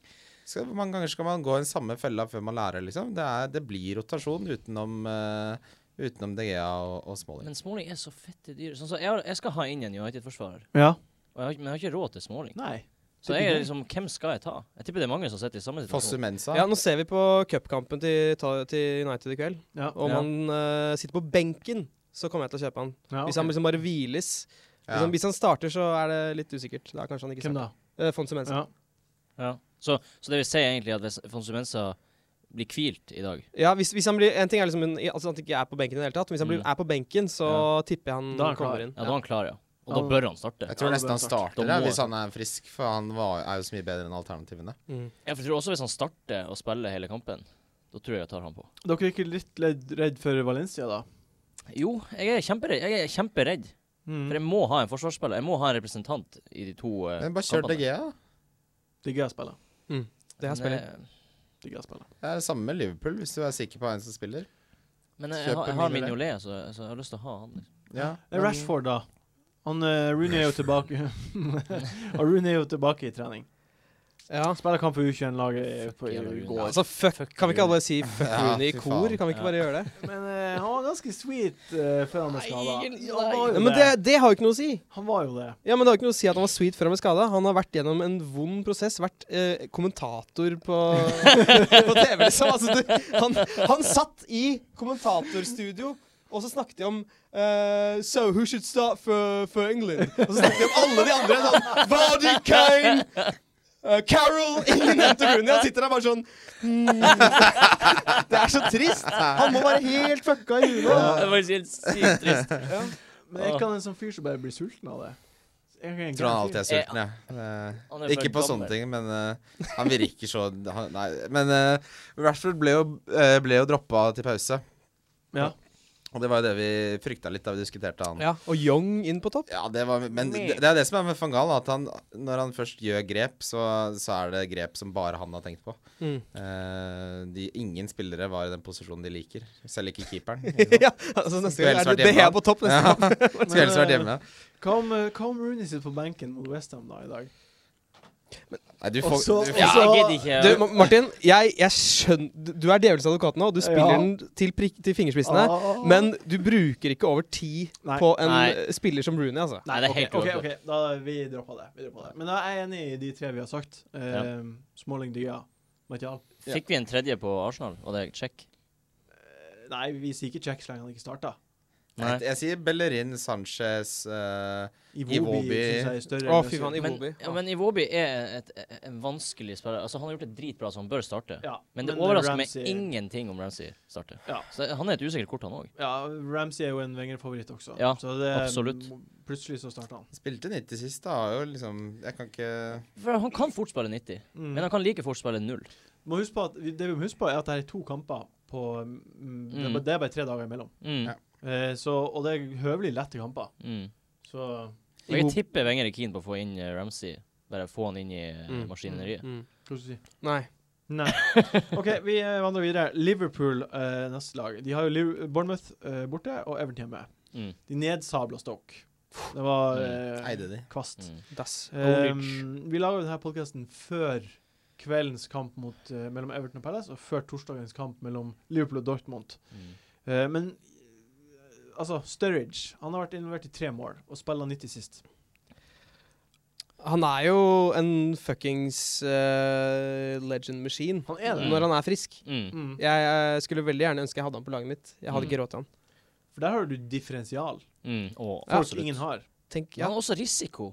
[SPEAKER 4] skal, Hvor mange ganger skal man gå i den samme fella før man lærer, liksom? Det, er, det blir rotasjon utenom, eh, utenom DGA og, og Smalling.
[SPEAKER 2] Men Småling er så fette dyr. Sånn, så jeg, har- jeg skal ha inn en United-forsvarer,
[SPEAKER 1] Ja.
[SPEAKER 2] og jeg har, ikke- men jeg har ikke råd til Småling.
[SPEAKER 1] Nei.
[SPEAKER 2] Så jeg er liksom, hvem skal jeg ta? Jeg tipper det er mange som sitter i samme
[SPEAKER 4] Fosse
[SPEAKER 2] situasjon.
[SPEAKER 4] Mensa.
[SPEAKER 3] Ja, nå ser vi på cupkampen til, ta- til United i kveld.
[SPEAKER 1] Ja.
[SPEAKER 3] Om
[SPEAKER 2] Ja.
[SPEAKER 3] han eh, sitter på benken, så kommer jeg til å kjøpe han.
[SPEAKER 1] ja,
[SPEAKER 3] Hvis han
[SPEAKER 1] Ah, ok.
[SPEAKER 3] liksom bare hviles
[SPEAKER 4] Ja.
[SPEAKER 3] hvis, han, hvis han starter, så er det litt usikkert. Da kanskje han ikke
[SPEAKER 1] Hvem
[SPEAKER 3] starter.
[SPEAKER 1] da?
[SPEAKER 3] Eh, Fonsu Mensa.
[SPEAKER 1] Ja.
[SPEAKER 2] Ja. Så, så det vil si egentlig at hvis Fonsu Mensa blir hvilt i dag
[SPEAKER 3] Ja, hvis, hvis han blir, En ting er liksom en- altså at han ikke er på benken i det hele tatt, men hvis han blir,
[SPEAKER 2] Mm.
[SPEAKER 3] er på benken, så tipper jeg han,
[SPEAKER 1] Da er han klar.
[SPEAKER 3] kommer inn.
[SPEAKER 2] Ja, da er han klar, ja. Og
[SPEAKER 1] Ja.
[SPEAKER 2] da bør han starte.
[SPEAKER 4] Jeg
[SPEAKER 1] Ja,
[SPEAKER 4] tror
[SPEAKER 1] det bør
[SPEAKER 4] nesten han
[SPEAKER 1] starte.
[SPEAKER 4] starter
[SPEAKER 2] Da
[SPEAKER 4] ja,
[SPEAKER 2] må-
[SPEAKER 4] hvis han er frisk, for han var, er jo så mye bedre enn alternativene.
[SPEAKER 3] Mm.
[SPEAKER 2] Jeg tror også hvis han starter å spille hele kampen, da tror jeg jeg tar han på.
[SPEAKER 1] Dere er ikke litt redd, redd for Valencia, da?
[SPEAKER 2] Jo, jeg er kjemperedd. Jeg er kjemperedd.
[SPEAKER 1] Mm.
[SPEAKER 2] For jeg må ha en forsvarsspiller. Jeg må ha en representant i de to eh,
[SPEAKER 4] Men bare kjør
[SPEAKER 2] kampene.
[SPEAKER 4] DG, da.
[SPEAKER 1] Digger jeg spillet.
[SPEAKER 3] Det her
[SPEAKER 2] Men,
[SPEAKER 3] spiller.
[SPEAKER 2] eh,
[SPEAKER 1] Digger jeg spillet.
[SPEAKER 4] Det er det samme med Liverpool, hvis du er sikker på en som spiller.
[SPEAKER 2] Men eh, jeg, har-
[SPEAKER 4] Kjøper
[SPEAKER 2] jeg har
[SPEAKER 4] Mignolet.
[SPEAKER 2] Mignolet, så, så jeg har lyst til å ha han. Liksom.
[SPEAKER 4] Ja,
[SPEAKER 1] Det er Eh, Rashford, da. Han eh, Rooney er jo
[SPEAKER 3] <laughs>
[SPEAKER 1] tilbake Og Rooney er jo tilbake i trening.
[SPEAKER 3] Ja.
[SPEAKER 1] Spiller kamp for U21-laget på-
[SPEAKER 2] jævla
[SPEAKER 1] i
[SPEAKER 2] Rooney.
[SPEAKER 1] går.
[SPEAKER 3] Altså, fuck, kan vi ikke alle bare si fuck
[SPEAKER 4] Ja,
[SPEAKER 3] Rooney i
[SPEAKER 4] fy
[SPEAKER 3] kor?
[SPEAKER 4] faen.
[SPEAKER 3] Kan vi ikke bare gjøre det?
[SPEAKER 1] <laughs> Men eh, han var ganske sweet eh, før han ble skada.
[SPEAKER 2] Nei,
[SPEAKER 1] Han var
[SPEAKER 3] Ja,
[SPEAKER 1] jo
[SPEAKER 3] men det,
[SPEAKER 1] det.
[SPEAKER 3] det har jo ikke noe å si.
[SPEAKER 1] Han var jo det.
[SPEAKER 3] Ja, men Det har ikke noe å si at han var sweet før han ble skada. Han har vært gjennom en vond prosess. Vært eh, kommentator på, <laughs> på TV, liksom. Altså, du, han, han satt i kommentatorstudio, og så snakket de om eh, So who should start for, for England? Og så snakket de om alle de andre. Sånn Vardy, Kane, eh, Carol Ingen nevnte Rooney. Han sitter der bare sånn hmm. <laughs> Det er så trist. Han må være helt fucka
[SPEAKER 1] <laughs>
[SPEAKER 3] i huet.
[SPEAKER 2] Det var faktisk helt sykt trist.
[SPEAKER 1] Men er ikke han en sånn fyr som bare blir sulten av det? Er ikke en
[SPEAKER 4] Jeg tror han
[SPEAKER 1] gæren
[SPEAKER 4] alltid er
[SPEAKER 2] fyr.
[SPEAKER 4] sulten, ja.
[SPEAKER 2] Han
[SPEAKER 4] Eh,
[SPEAKER 2] er
[SPEAKER 4] Ikke
[SPEAKER 2] for
[SPEAKER 4] på
[SPEAKER 2] gammel.
[SPEAKER 4] sånne ting, men eh, han virker så han, Nei, men eh, Rashford ble jo, eh, ble jo droppa til pause.
[SPEAKER 1] fyr? Ja.
[SPEAKER 4] Og det var jo det vi frykta litt da vi diskuterte han.
[SPEAKER 3] Ja, og Young inn på topp.
[SPEAKER 4] Ja, det var, men det, det er det som er med van Gaal, at han, når han først gjør grep, så, så er det grep som bare han har tenkt på.
[SPEAKER 3] Mm. <laughs>
[SPEAKER 4] Eh, de, ingen spillere var i den posisjonen de liker. Selv ikke keeperen.
[SPEAKER 3] ja, altså neste gang er
[SPEAKER 4] Skulle helst vært
[SPEAKER 3] det det
[SPEAKER 4] hjemme.
[SPEAKER 3] er på topp neste
[SPEAKER 4] Ja.
[SPEAKER 3] gang.
[SPEAKER 4] Skulle helst vært hjemme.
[SPEAKER 1] Hva om, eh, hva om Rooney sitter på benken mot Westham da i dag?
[SPEAKER 4] Nei, du
[SPEAKER 1] Og
[SPEAKER 4] får,
[SPEAKER 1] så-
[SPEAKER 4] du får
[SPEAKER 2] Ja, jeg gidder
[SPEAKER 3] Du,
[SPEAKER 2] ikke.
[SPEAKER 3] Ma- Martin, jeg, jeg skjønner Du er djevelens advokat nå, og du spiller
[SPEAKER 1] Ja.
[SPEAKER 3] den til, prikk, til fingerspissene.
[SPEAKER 1] Ah.
[SPEAKER 3] Men du bruker ikke over ti
[SPEAKER 1] Nei.
[SPEAKER 3] på en
[SPEAKER 2] Nei.
[SPEAKER 3] eh, spiller som Rooney, altså.
[SPEAKER 2] Nei, det er helt
[SPEAKER 1] OK,
[SPEAKER 2] uaktuelt.
[SPEAKER 1] ok, da vi droppa det. Vi droppa det. Men da er jeg enig i de tre vi har sagt. Eh,
[SPEAKER 2] Ja.
[SPEAKER 1] Småling, Dya, Martial.
[SPEAKER 2] Fikk vi en tredje på Arsenal, og det er check?
[SPEAKER 1] Eh, Nei, vi sier ikke check så lenge han ikke starta.
[SPEAKER 4] jeg,
[SPEAKER 2] Nei.
[SPEAKER 4] jeg sier Bellerin, Sanchez eh,
[SPEAKER 1] Iwobi
[SPEAKER 4] Iwobi.
[SPEAKER 1] syns jeg er større.
[SPEAKER 3] Å,
[SPEAKER 1] enn
[SPEAKER 3] fy
[SPEAKER 1] Øzil.
[SPEAKER 3] faen.
[SPEAKER 2] Men,
[SPEAKER 3] Iwobi.
[SPEAKER 2] ja, men Iwobi er et, et, en vanskelig spiller. Altså, han har gjort det dritbra, så han bør starte.
[SPEAKER 1] Ja,
[SPEAKER 2] Men det
[SPEAKER 1] men
[SPEAKER 2] overrasker
[SPEAKER 1] Ramsey-
[SPEAKER 2] meg ingenting om Ramsey starter.
[SPEAKER 1] Ja.
[SPEAKER 2] Så han er et usikkert kort, han òg.
[SPEAKER 1] Ja, Ramsey er jo en Wenger-favoritt også.
[SPEAKER 2] Ja,
[SPEAKER 1] så det,
[SPEAKER 2] absolutt.
[SPEAKER 1] Plutselig så starta han.
[SPEAKER 4] Spilte 90 sist, da. Har jo liksom Jeg kan ikke
[SPEAKER 2] For han kan fort spille 90,
[SPEAKER 1] Mm.
[SPEAKER 2] men han kan like fort spille 0.
[SPEAKER 1] Må huske på at, det vi må huske på, er at det er to kamper på mm, det, er
[SPEAKER 2] Mm.
[SPEAKER 1] bare- det er bare tre dager imellom.
[SPEAKER 2] Mm.
[SPEAKER 4] Ja.
[SPEAKER 1] Eh, så, og det er høvelig lette kamper.
[SPEAKER 2] Mm.
[SPEAKER 1] Så
[SPEAKER 2] Og jeg tipper Wenger er keen på å få inn eh, Ramsey. Bare få han inn i eh,
[SPEAKER 3] Mm.
[SPEAKER 2] maskineriet.
[SPEAKER 3] Mm.
[SPEAKER 1] Hva skal du si?
[SPEAKER 3] Nei.
[SPEAKER 2] <laughs>
[SPEAKER 1] Nei. OK, vi eh, vandrer videre. Liverpool, eh, neste lag. De har jo Liv Bournemouth eh, borte og Everton hjemme.
[SPEAKER 2] Mm.
[SPEAKER 1] De nedsabla Stoke. Det var eh,
[SPEAKER 4] Eide de.
[SPEAKER 1] kvast.
[SPEAKER 2] Mm.
[SPEAKER 3] Dass.
[SPEAKER 1] Ehm, vi laga denne podkasten før kveldens kamp mot, eh, mellom Everton og Palace, og før torsdagens kamp mellom Liverpool og Dortmund.
[SPEAKER 2] Mm.
[SPEAKER 1] Eh, men eh, altså, Sturridge han har vært involvert i tre mål og spilla 90 sist.
[SPEAKER 3] Han er jo en fuckings eh, legend machine
[SPEAKER 1] Han er det.
[SPEAKER 2] Mm.
[SPEAKER 3] når han er frisk.
[SPEAKER 2] Mm.
[SPEAKER 1] Mm.
[SPEAKER 3] Jeg, eh, skulle veldig gjerne ønske jeg hadde han på laget mitt. Jeg hadde
[SPEAKER 2] Mm.
[SPEAKER 3] ikke råd til han.
[SPEAKER 1] For der har du differensial.
[SPEAKER 2] Mm. Og,
[SPEAKER 3] Ja,
[SPEAKER 1] Folk
[SPEAKER 2] absolutt.
[SPEAKER 1] ingen har.
[SPEAKER 3] Tenk,
[SPEAKER 2] Men
[SPEAKER 3] ja.
[SPEAKER 2] han har også risiko.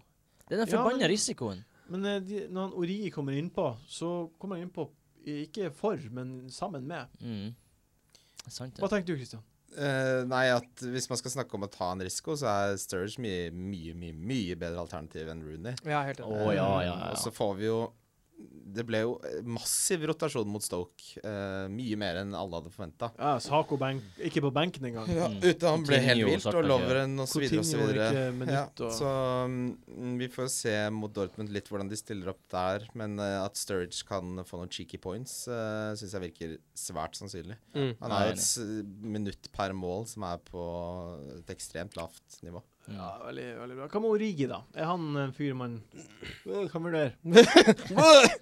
[SPEAKER 2] Det er den
[SPEAKER 1] Ja,
[SPEAKER 2] forbanna
[SPEAKER 1] men-
[SPEAKER 2] risikoen.
[SPEAKER 1] Men eh, de, når han Origi kommer innpå, så kommer han innpå i- ikke for, men sammen med.
[SPEAKER 2] Mm. Det er sant,
[SPEAKER 1] Hva
[SPEAKER 2] det.
[SPEAKER 1] tenker du, Christian?
[SPEAKER 4] Eh, nei, at hvis man skal snakke om å ta en risiko, så er Sturridge mye, mye, mye, mye bedre alternativ enn Rooney.
[SPEAKER 3] Ja, helt enig.
[SPEAKER 2] Å, ja, ja, ja.
[SPEAKER 4] Og så får vi jo Det ble jo massiv rotasjon mot Stoke. eh, mye mer enn alle hadde forventa.
[SPEAKER 1] Ja, Sako benk, ikke på benken engang.
[SPEAKER 4] Ja,
[SPEAKER 2] Mm.
[SPEAKER 4] ute, han ble helt
[SPEAKER 2] Coutinho
[SPEAKER 4] vilt,
[SPEAKER 2] starta
[SPEAKER 4] og
[SPEAKER 2] ikke.
[SPEAKER 4] Loveren og så videre og så
[SPEAKER 1] Coutinho
[SPEAKER 4] videre.
[SPEAKER 1] ikke minutt
[SPEAKER 4] Ja,
[SPEAKER 1] og
[SPEAKER 4] så mm, vi får se mot Dortmund litt hvordan de stiller opp der. Men eh, at Sturridge kan få noen cheeky points, uh, syns jeg virker svært sannsynlig.
[SPEAKER 3] Mm.
[SPEAKER 4] Han
[SPEAKER 2] Nei,
[SPEAKER 4] har jo et s- minutt per mål som er på et ekstremt lavt nivå.
[SPEAKER 2] Mm.
[SPEAKER 1] Ja, veldig, veldig bra. Hva med Origi, da? Er han en fyr man øh, kan vurdere?
[SPEAKER 3] <laughs>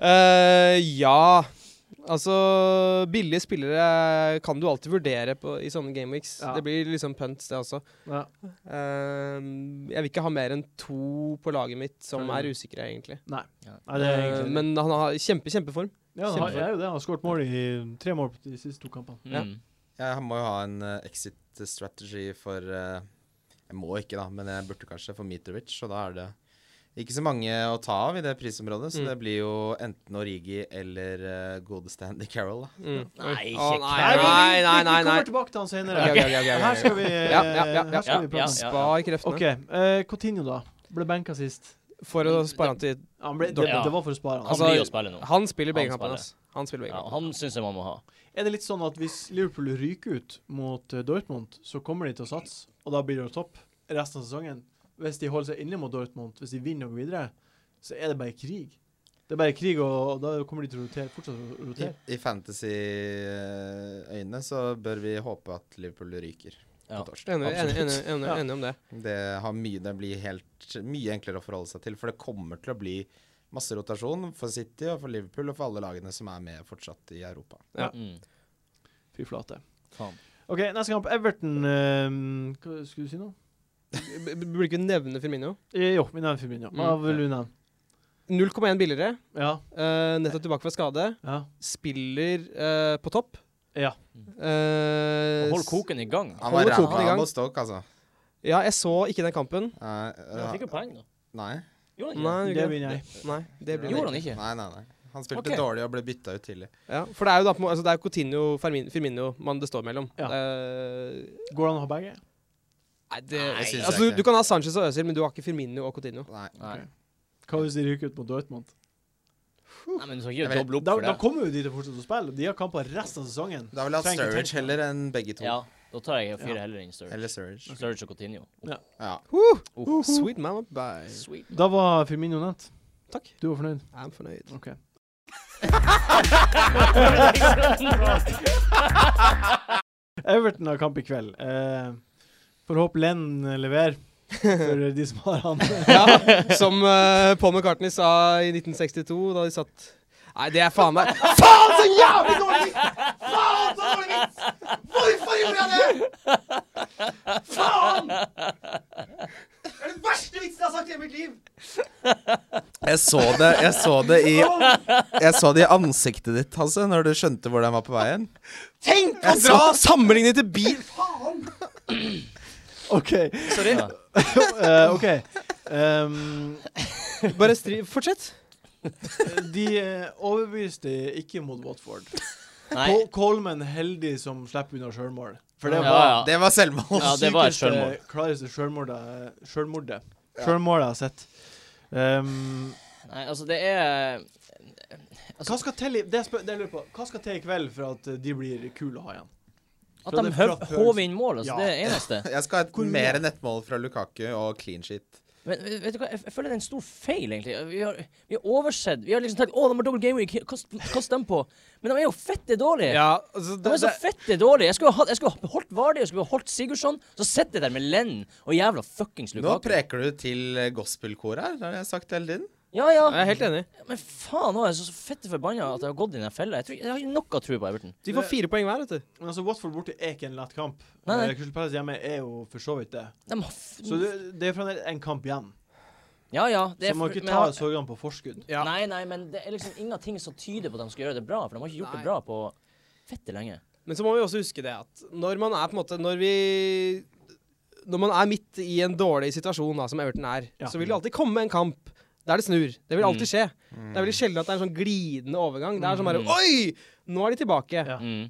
[SPEAKER 3] Eh, ja. Altså, billige spillere kan du alltid vurdere på, i sånne gameweeks.
[SPEAKER 1] Ja.
[SPEAKER 3] Det blir liksom punts, det også.
[SPEAKER 1] Ja.
[SPEAKER 3] Eh, jeg vil ikke ha mer enn to på laget mitt som
[SPEAKER 1] Følger
[SPEAKER 3] er
[SPEAKER 1] du?
[SPEAKER 3] usikre, egentlig.
[SPEAKER 1] Nei, det er
[SPEAKER 3] Eh,
[SPEAKER 1] egentlig
[SPEAKER 3] men han har kjempe, kjempeform.
[SPEAKER 1] Ja, han har- det er jo det. Han har skåret mål i tre mål på de siste to kampene.
[SPEAKER 3] Ja.
[SPEAKER 2] Mm.
[SPEAKER 4] Jeg må jo ha en eh, exit strategy for eh, Jeg må ikke, da, men jeg burde kanskje for Mitrovic, og da er det ikke så mange å ta av i det prisområdet, så
[SPEAKER 3] Mm.
[SPEAKER 4] det blir jo enten Origi eller eh, godeste Andy Carroll, da.
[SPEAKER 3] Mm. Å,
[SPEAKER 2] Nei, ikke
[SPEAKER 3] nei, nei, nei, nei,
[SPEAKER 1] Vi
[SPEAKER 3] nei.
[SPEAKER 1] kommer tilbake til han senere.
[SPEAKER 3] Ok, ok, ok, ok, ok.
[SPEAKER 1] Her skal vi,
[SPEAKER 3] Ja, ja, ja,
[SPEAKER 1] her skal
[SPEAKER 2] ja.
[SPEAKER 1] vi prate.
[SPEAKER 2] Ja, ja.
[SPEAKER 3] Spar kreftene
[SPEAKER 1] OK. eh, Coutinho, da. Ble benka sist.
[SPEAKER 3] for å spare han til
[SPEAKER 1] Han ble, det,
[SPEAKER 2] Ja.
[SPEAKER 1] det var for å spare han.
[SPEAKER 2] Han
[SPEAKER 3] Altså,
[SPEAKER 2] blir å spille nå.
[SPEAKER 3] Han spiller begge
[SPEAKER 2] Han
[SPEAKER 3] kampene.
[SPEAKER 2] spiller.
[SPEAKER 3] ass. Han spiller begge
[SPEAKER 2] Ja,
[SPEAKER 3] kampene.
[SPEAKER 2] han syns jeg man må ha.
[SPEAKER 1] Er det litt sånn at hvis Liverpool ryker ut mot eh, Dortmund, så kommer de til å satse, og da blir det jo topp? resten av sesongen. Hvis de holder seg inne mot Dortmund, hvis de vinner og går videre, så er det bare krig. Det er bare krig, og, og da kommer de til å rotere, fortsatt å
[SPEAKER 4] I,
[SPEAKER 1] rotere.
[SPEAKER 4] i fantasy-øyne så bør vi håpe at Liverpool ryker.
[SPEAKER 2] Ja.
[SPEAKER 4] på torsdag.
[SPEAKER 3] Enig, enig, enig, enig,
[SPEAKER 1] Ja.
[SPEAKER 3] enig om det.
[SPEAKER 4] Det, har mye, det blir helt, mye enklere å forholde seg til, for det kommer til å bli masse rotasjon for City og for Liverpool og for alle lagene som er med fortsatt i Europa.
[SPEAKER 2] Mm.
[SPEAKER 1] Fy flate.
[SPEAKER 2] Faen.
[SPEAKER 1] OK, neste kamp. Everton eh, Hva skulle du si nå?
[SPEAKER 3] B- b- Burde ikke nevne Firmino.
[SPEAKER 1] Eh, Jo, vi nevner Firmino. Hva
[SPEAKER 3] Mm.
[SPEAKER 1] vil du nevne?
[SPEAKER 3] 0,1 billigere.
[SPEAKER 1] Ja.
[SPEAKER 3] eh, nettopp tilbake fra skade.
[SPEAKER 1] ja.
[SPEAKER 3] Spiller eh, på topp.
[SPEAKER 1] Ja.
[SPEAKER 3] Eh,
[SPEAKER 2] Hold koken i gang.
[SPEAKER 4] Han var
[SPEAKER 3] Holder koken i
[SPEAKER 4] ræva
[SPEAKER 3] gang.
[SPEAKER 4] mot Stoke, altså.
[SPEAKER 3] Ja, jeg så ikke den kampen.
[SPEAKER 4] Nei,
[SPEAKER 2] Han fikk jo poeng, da.
[SPEAKER 4] eh, nei.
[SPEAKER 2] Gjorde han
[SPEAKER 3] Nei,
[SPEAKER 2] ikke?
[SPEAKER 1] Det vinner jeg.
[SPEAKER 3] Nei, det blir
[SPEAKER 2] Gjorde han ikke?
[SPEAKER 4] Nei, nei, nei. Han spilte
[SPEAKER 2] Ok.
[SPEAKER 4] dårlig og ble bytta ut tidlig.
[SPEAKER 3] Ja, for det er jo da på en må- altså, Det er jo Coutinho Firmin- Firmino man det står mellom.
[SPEAKER 1] Ja.
[SPEAKER 3] Eh,
[SPEAKER 1] Går det an å ha begge?
[SPEAKER 3] nei, det
[SPEAKER 4] Nei, synes jeg
[SPEAKER 3] altså, du,
[SPEAKER 4] ikke.
[SPEAKER 3] du kan ha Sanchez og Øzil, men du har ikke Firmino og Coutinho.
[SPEAKER 4] Nei.
[SPEAKER 2] Nei.
[SPEAKER 1] Hva hvis de ryker ut mot Dortmund?
[SPEAKER 2] Nei, men du skal
[SPEAKER 4] Jeg
[SPEAKER 2] ikke
[SPEAKER 4] vet-
[SPEAKER 2] doble opp
[SPEAKER 1] Da,
[SPEAKER 2] for
[SPEAKER 1] da
[SPEAKER 2] det.
[SPEAKER 1] kommer jo de til å fortsette å spille. De har kamper resten av sesongen.
[SPEAKER 4] Da vil jeg ha
[SPEAKER 1] Trenger ikke
[SPEAKER 4] Sturridge
[SPEAKER 1] tenke.
[SPEAKER 4] heller enn begge to.
[SPEAKER 2] Ja, da tar jeg fire
[SPEAKER 1] Ja.
[SPEAKER 2] heller enn Sturridge.
[SPEAKER 4] Eller Sturridge.
[SPEAKER 2] Sturridge og Coutinho.
[SPEAKER 4] Ja.
[SPEAKER 2] Oh.
[SPEAKER 3] Sweet man up by.
[SPEAKER 2] <laughs> Sweet.
[SPEAKER 1] Da var Firmino nevnt.
[SPEAKER 3] Takk.
[SPEAKER 1] Du var fornøyd?
[SPEAKER 3] Jeg er fornøyd.
[SPEAKER 1] OK. Everton har kamp i kveld. Eh, Får håpe Len leverer for
[SPEAKER 2] <laughs>
[SPEAKER 1] de som har han.
[SPEAKER 3] ja, som eh, Paul McCartney sa i 1962, da de satt Nei, det er faen meg Faen så jævlig dårlig! Faen så dårlig vits! Hvorfor gjorde jeg det?! Faen! Det er den verste vitsen jeg har sagt i hele mitt liv!
[SPEAKER 4] Jeg så det, jeg så det i Jeg så det i ansiktet ditt, Hasse, når du skjønte hvor den var på veien.
[SPEAKER 3] Tenk å dra sammenlignet til bil!
[SPEAKER 1] OK.
[SPEAKER 2] Sorry.
[SPEAKER 1] Eh, ok. Ehm,
[SPEAKER 3] Bare stri... Fortsett.
[SPEAKER 1] de eh, overbeviste ikke mot Watford.
[SPEAKER 2] Nei.
[SPEAKER 1] Col Coleman heldig som slipper unna sjølmål. For det
[SPEAKER 2] Ja,
[SPEAKER 1] var
[SPEAKER 2] ja.
[SPEAKER 4] Det var selvmål.
[SPEAKER 2] Ja, det var et
[SPEAKER 1] sykeste,
[SPEAKER 2] selvmål.
[SPEAKER 1] Klareste sjølmordet Sjølmordet Sjølmålet jeg har sett. Ehm,
[SPEAKER 2] Nei, altså, det er Altså-
[SPEAKER 1] hva skal til i det, spør, det lurer jeg på. Hva skal til i kveld for at eh, de blir kule å ha igjen?
[SPEAKER 2] At
[SPEAKER 1] Så
[SPEAKER 2] de
[SPEAKER 1] det er
[SPEAKER 2] høv-
[SPEAKER 1] fra før-
[SPEAKER 2] håver inn mål, altså.
[SPEAKER 1] Ja.
[SPEAKER 2] Det er det eneste.
[SPEAKER 4] Jeg skal ha et mer nettmål fra Lukaku og clean shit.
[SPEAKER 2] Men vet vet du hva, jeg, jeg føler det er en stor feil, egentlig. Vi har, vi har oversett. Vi har liksom tenkt 'Å, de har double game week, kast, kast dem på'. Men de er jo fette dårlige.
[SPEAKER 3] Ja, altså
[SPEAKER 2] De
[SPEAKER 3] det,
[SPEAKER 2] er så fette dårlige. Jeg skulle ha, hatt- jeg skulle ha holdt Vardy, jeg skulle ha holdt Sigurdsson. Så sitter jeg der med Lenn og jævla fuckings
[SPEAKER 4] Nå
[SPEAKER 2] Lukaku.
[SPEAKER 4] preker du til gospelkor her, har jeg sagt hele tiden.
[SPEAKER 2] Ja, ja.
[SPEAKER 3] Jeg er helt enig.
[SPEAKER 2] Men faen òg, jeg er så så fette forbanna at jeg har gått i den fella. Jeg, tror, jeg har ikke nok av tro på Everton.
[SPEAKER 3] De får fire poeng hver, vet du.
[SPEAKER 1] Men altså, Watford borte er ikke en lett kamp.
[SPEAKER 2] Nei, nei.
[SPEAKER 1] Eh, Crystal Palace hjemme er jo for så vidt det.
[SPEAKER 2] De har f
[SPEAKER 1] Så det, det er fremdeles en kamp igjen.
[SPEAKER 2] ja, ja. Det
[SPEAKER 1] Så
[SPEAKER 2] er
[SPEAKER 1] man må
[SPEAKER 2] for-
[SPEAKER 1] ikke
[SPEAKER 2] men
[SPEAKER 1] ta
[SPEAKER 2] jeg-
[SPEAKER 1] sorgene på forskudd.
[SPEAKER 3] Ja.
[SPEAKER 2] Nei, nei, men det er liksom ingenting som tyder på at de skal gjøre det bra. For de har ikke gjort
[SPEAKER 3] Nei.
[SPEAKER 2] det bra på fette lenge.
[SPEAKER 3] Men så må vi også huske det at når man er på en måte Når vi Når man er midt i en dårlig situasjon, da, som Everton er,
[SPEAKER 1] Ja.
[SPEAKER 3] så vil det alltid komme en kamp der det snur. Det vil alltid skje. Det er veldig sjelden at det er en sånn glidende overgang. Det er sånn bare Oi! Nå er de tilbake.
[SPEAKER 1] Ja.
[SPEAKER 2] Mm.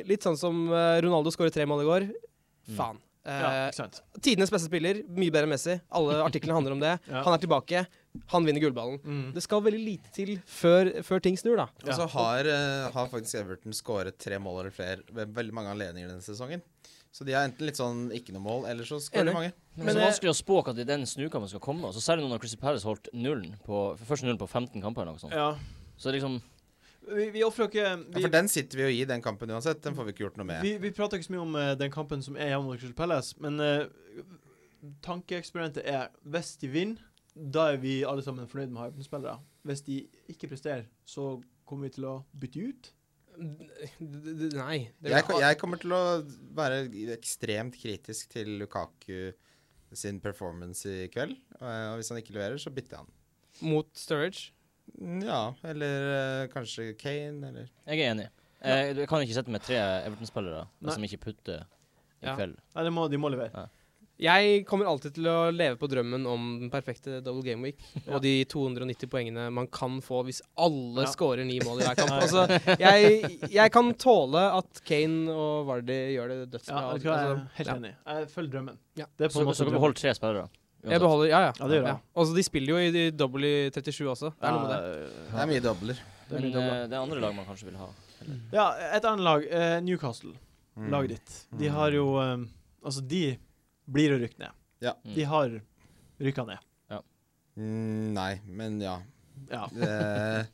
[SPEAKER 3] Eh, litt sånn som eh, Ronaldo skåret tre mål i går. Faen.
[SPEAKER 1] Ja,
[SPEAKER 3] Eh,
[SPEAKER 1] ikke sant?
[SPEAKER 3] tidenes beste spiller. Mye bedre enn Messi. Alle artiklene handler om det.
[SPEAKER 1] <laughs> Ja.
[SPEAKER 3] Han er tilbake. Han vinner gullballen.
[SPEAKER 1] Mm.
[SPEAKER 3] Det skal veldig lite til før, før ting snur, da.
[SPEAKER 4] Og så har, eh, har faktisk Everton skåret tre mål eller flere ved veldig mange anledninger denne sesongen. Så de er enten litt sånn ikke noe mål, eller så skårer
[SPEAKER 3] Enig.
[SPEAKER 4] de mange.
[SPEAKER 1] Men
[SPEAKER 2] Men, det er
[SPEAKER 1] det-
[SPEAKER 2] så vanskelig å spå at den snukampen skal komme. Og så Særlig nå når Chrissy Palace holdt nullen på, først nullen på 15 kamper eller noe
[SPEAKER 3] sånn.
[SPEAKER 2] sånt.
[SPEAKER 1] Ja.
[SPEAKER 2] Så liksom
[SPEAKER 1] Vi, vi ofrer ikke
[SPEAKER 4] Ja,
[SPEAKER 1] vi,
[SPEAKER 4] for den sitter vi jo i, den kampen uansett. Den får vi ikke gjort noe med.
[SPEAKER 1] vi, vi prater ikke så mye om eh, den kampen som er hjemme mot Crystal Palace, men eh, tankeeksperimentet er hvis de vinner, da er vi alle sammen fornøyd med å ha Everton-spillere. Hvis de ikke presterer, så kommer vi til å bytte ut.
[SPEAKER 3] D- d- Nei. Det
[SPEAKER 4] Jeg, ko- jeg kommer til å være ekstremt kritisk til Lukaku sin performance i kveld. Og eh, og hvis han ikke leverer, så bytter jeg han.
[SPEAKER 3] Mot Sturridge.
[SPEAKER 4] Ja, eller eh, kanskje Kane, eller
[SPEAKER 2] Jeg er enig. Jeg, jeg kan ikke sitte med tre Everton-spillere
[SPEAKER 1] Nei.
[SPEAKER 2] som ikke putter i
[SPEAKER 3] Ja.
[SPEAKER 2] kveld.
[SPEAKER 1] Nei, de må, de må levere.
[SPEAKER 3] Jeg kommer alltid til å leve på drømmen om den perfekte double game
[SPEAKER 1] <laughs>
[SPEAKER 3] week. Og de 290 poengene man kan få hvis alle
[SPEAKER 1] Ja.
[SPEAKER 3] scorer ni mål i hver
[SPEAKER 1] <laughs>
[SPEAKER 3] kamp. <laughs> Altså, jeg, jeg kan tåle at Kane og Vardy gjør det
[SPEAKER 1] Ja,
[SPEAKER 3] dødsbra.
[SPEAKER 1] vet du hva, jeg er
[SPEAKER 3] Altså,
[SPEAKER 1] helt
[SPEAKER 3] ja.
[SPEAKER 1] enig. Jeg følger drømmen.
[SPEAKER 3] Ja.
[SPEAKER 1] Det er på
[SPEAKER 2] Så,
[SPEAKER 1] en måte
[SPEAKER 2] så kan vi
[SPEAKER 1] drømmen.
[SPEAKER 2] beholde tre spillere.
[SPEAKER 3] Jeg beholder Ja, ja.
[SPEAKER 1] Ja, det gjør jeg.
[SPEAKER 3] Altså, de spiller jo i de double i 37 også. Det er noe med det.
[SPEAKER 4] Det er mye dobler.
[SPEAKER 1] det er
[SPEAKER 2] Men
[SPEAKER 1] mye dobler.
[SPEAKER 2] eh, det er andre lag man kanskje vil ha.
[SPEAKER 1] Ja,
[SPEAKER 4] Mm.
[SPEAKER 1] et annet lag, eh, Newcastle. Laget ditt. De har jo eh, Altså, de blir å rykke ned.
[SPEAKER 2] Mm.
[SPEAKER 4] Ja.
[SPEAKER 1] De har rykka ned.
[SPEAKER 4] Mm, nei, men ja. <laughs>
[SPEAKER 1] Ja.
[SPEAKER 4] Det, Eh,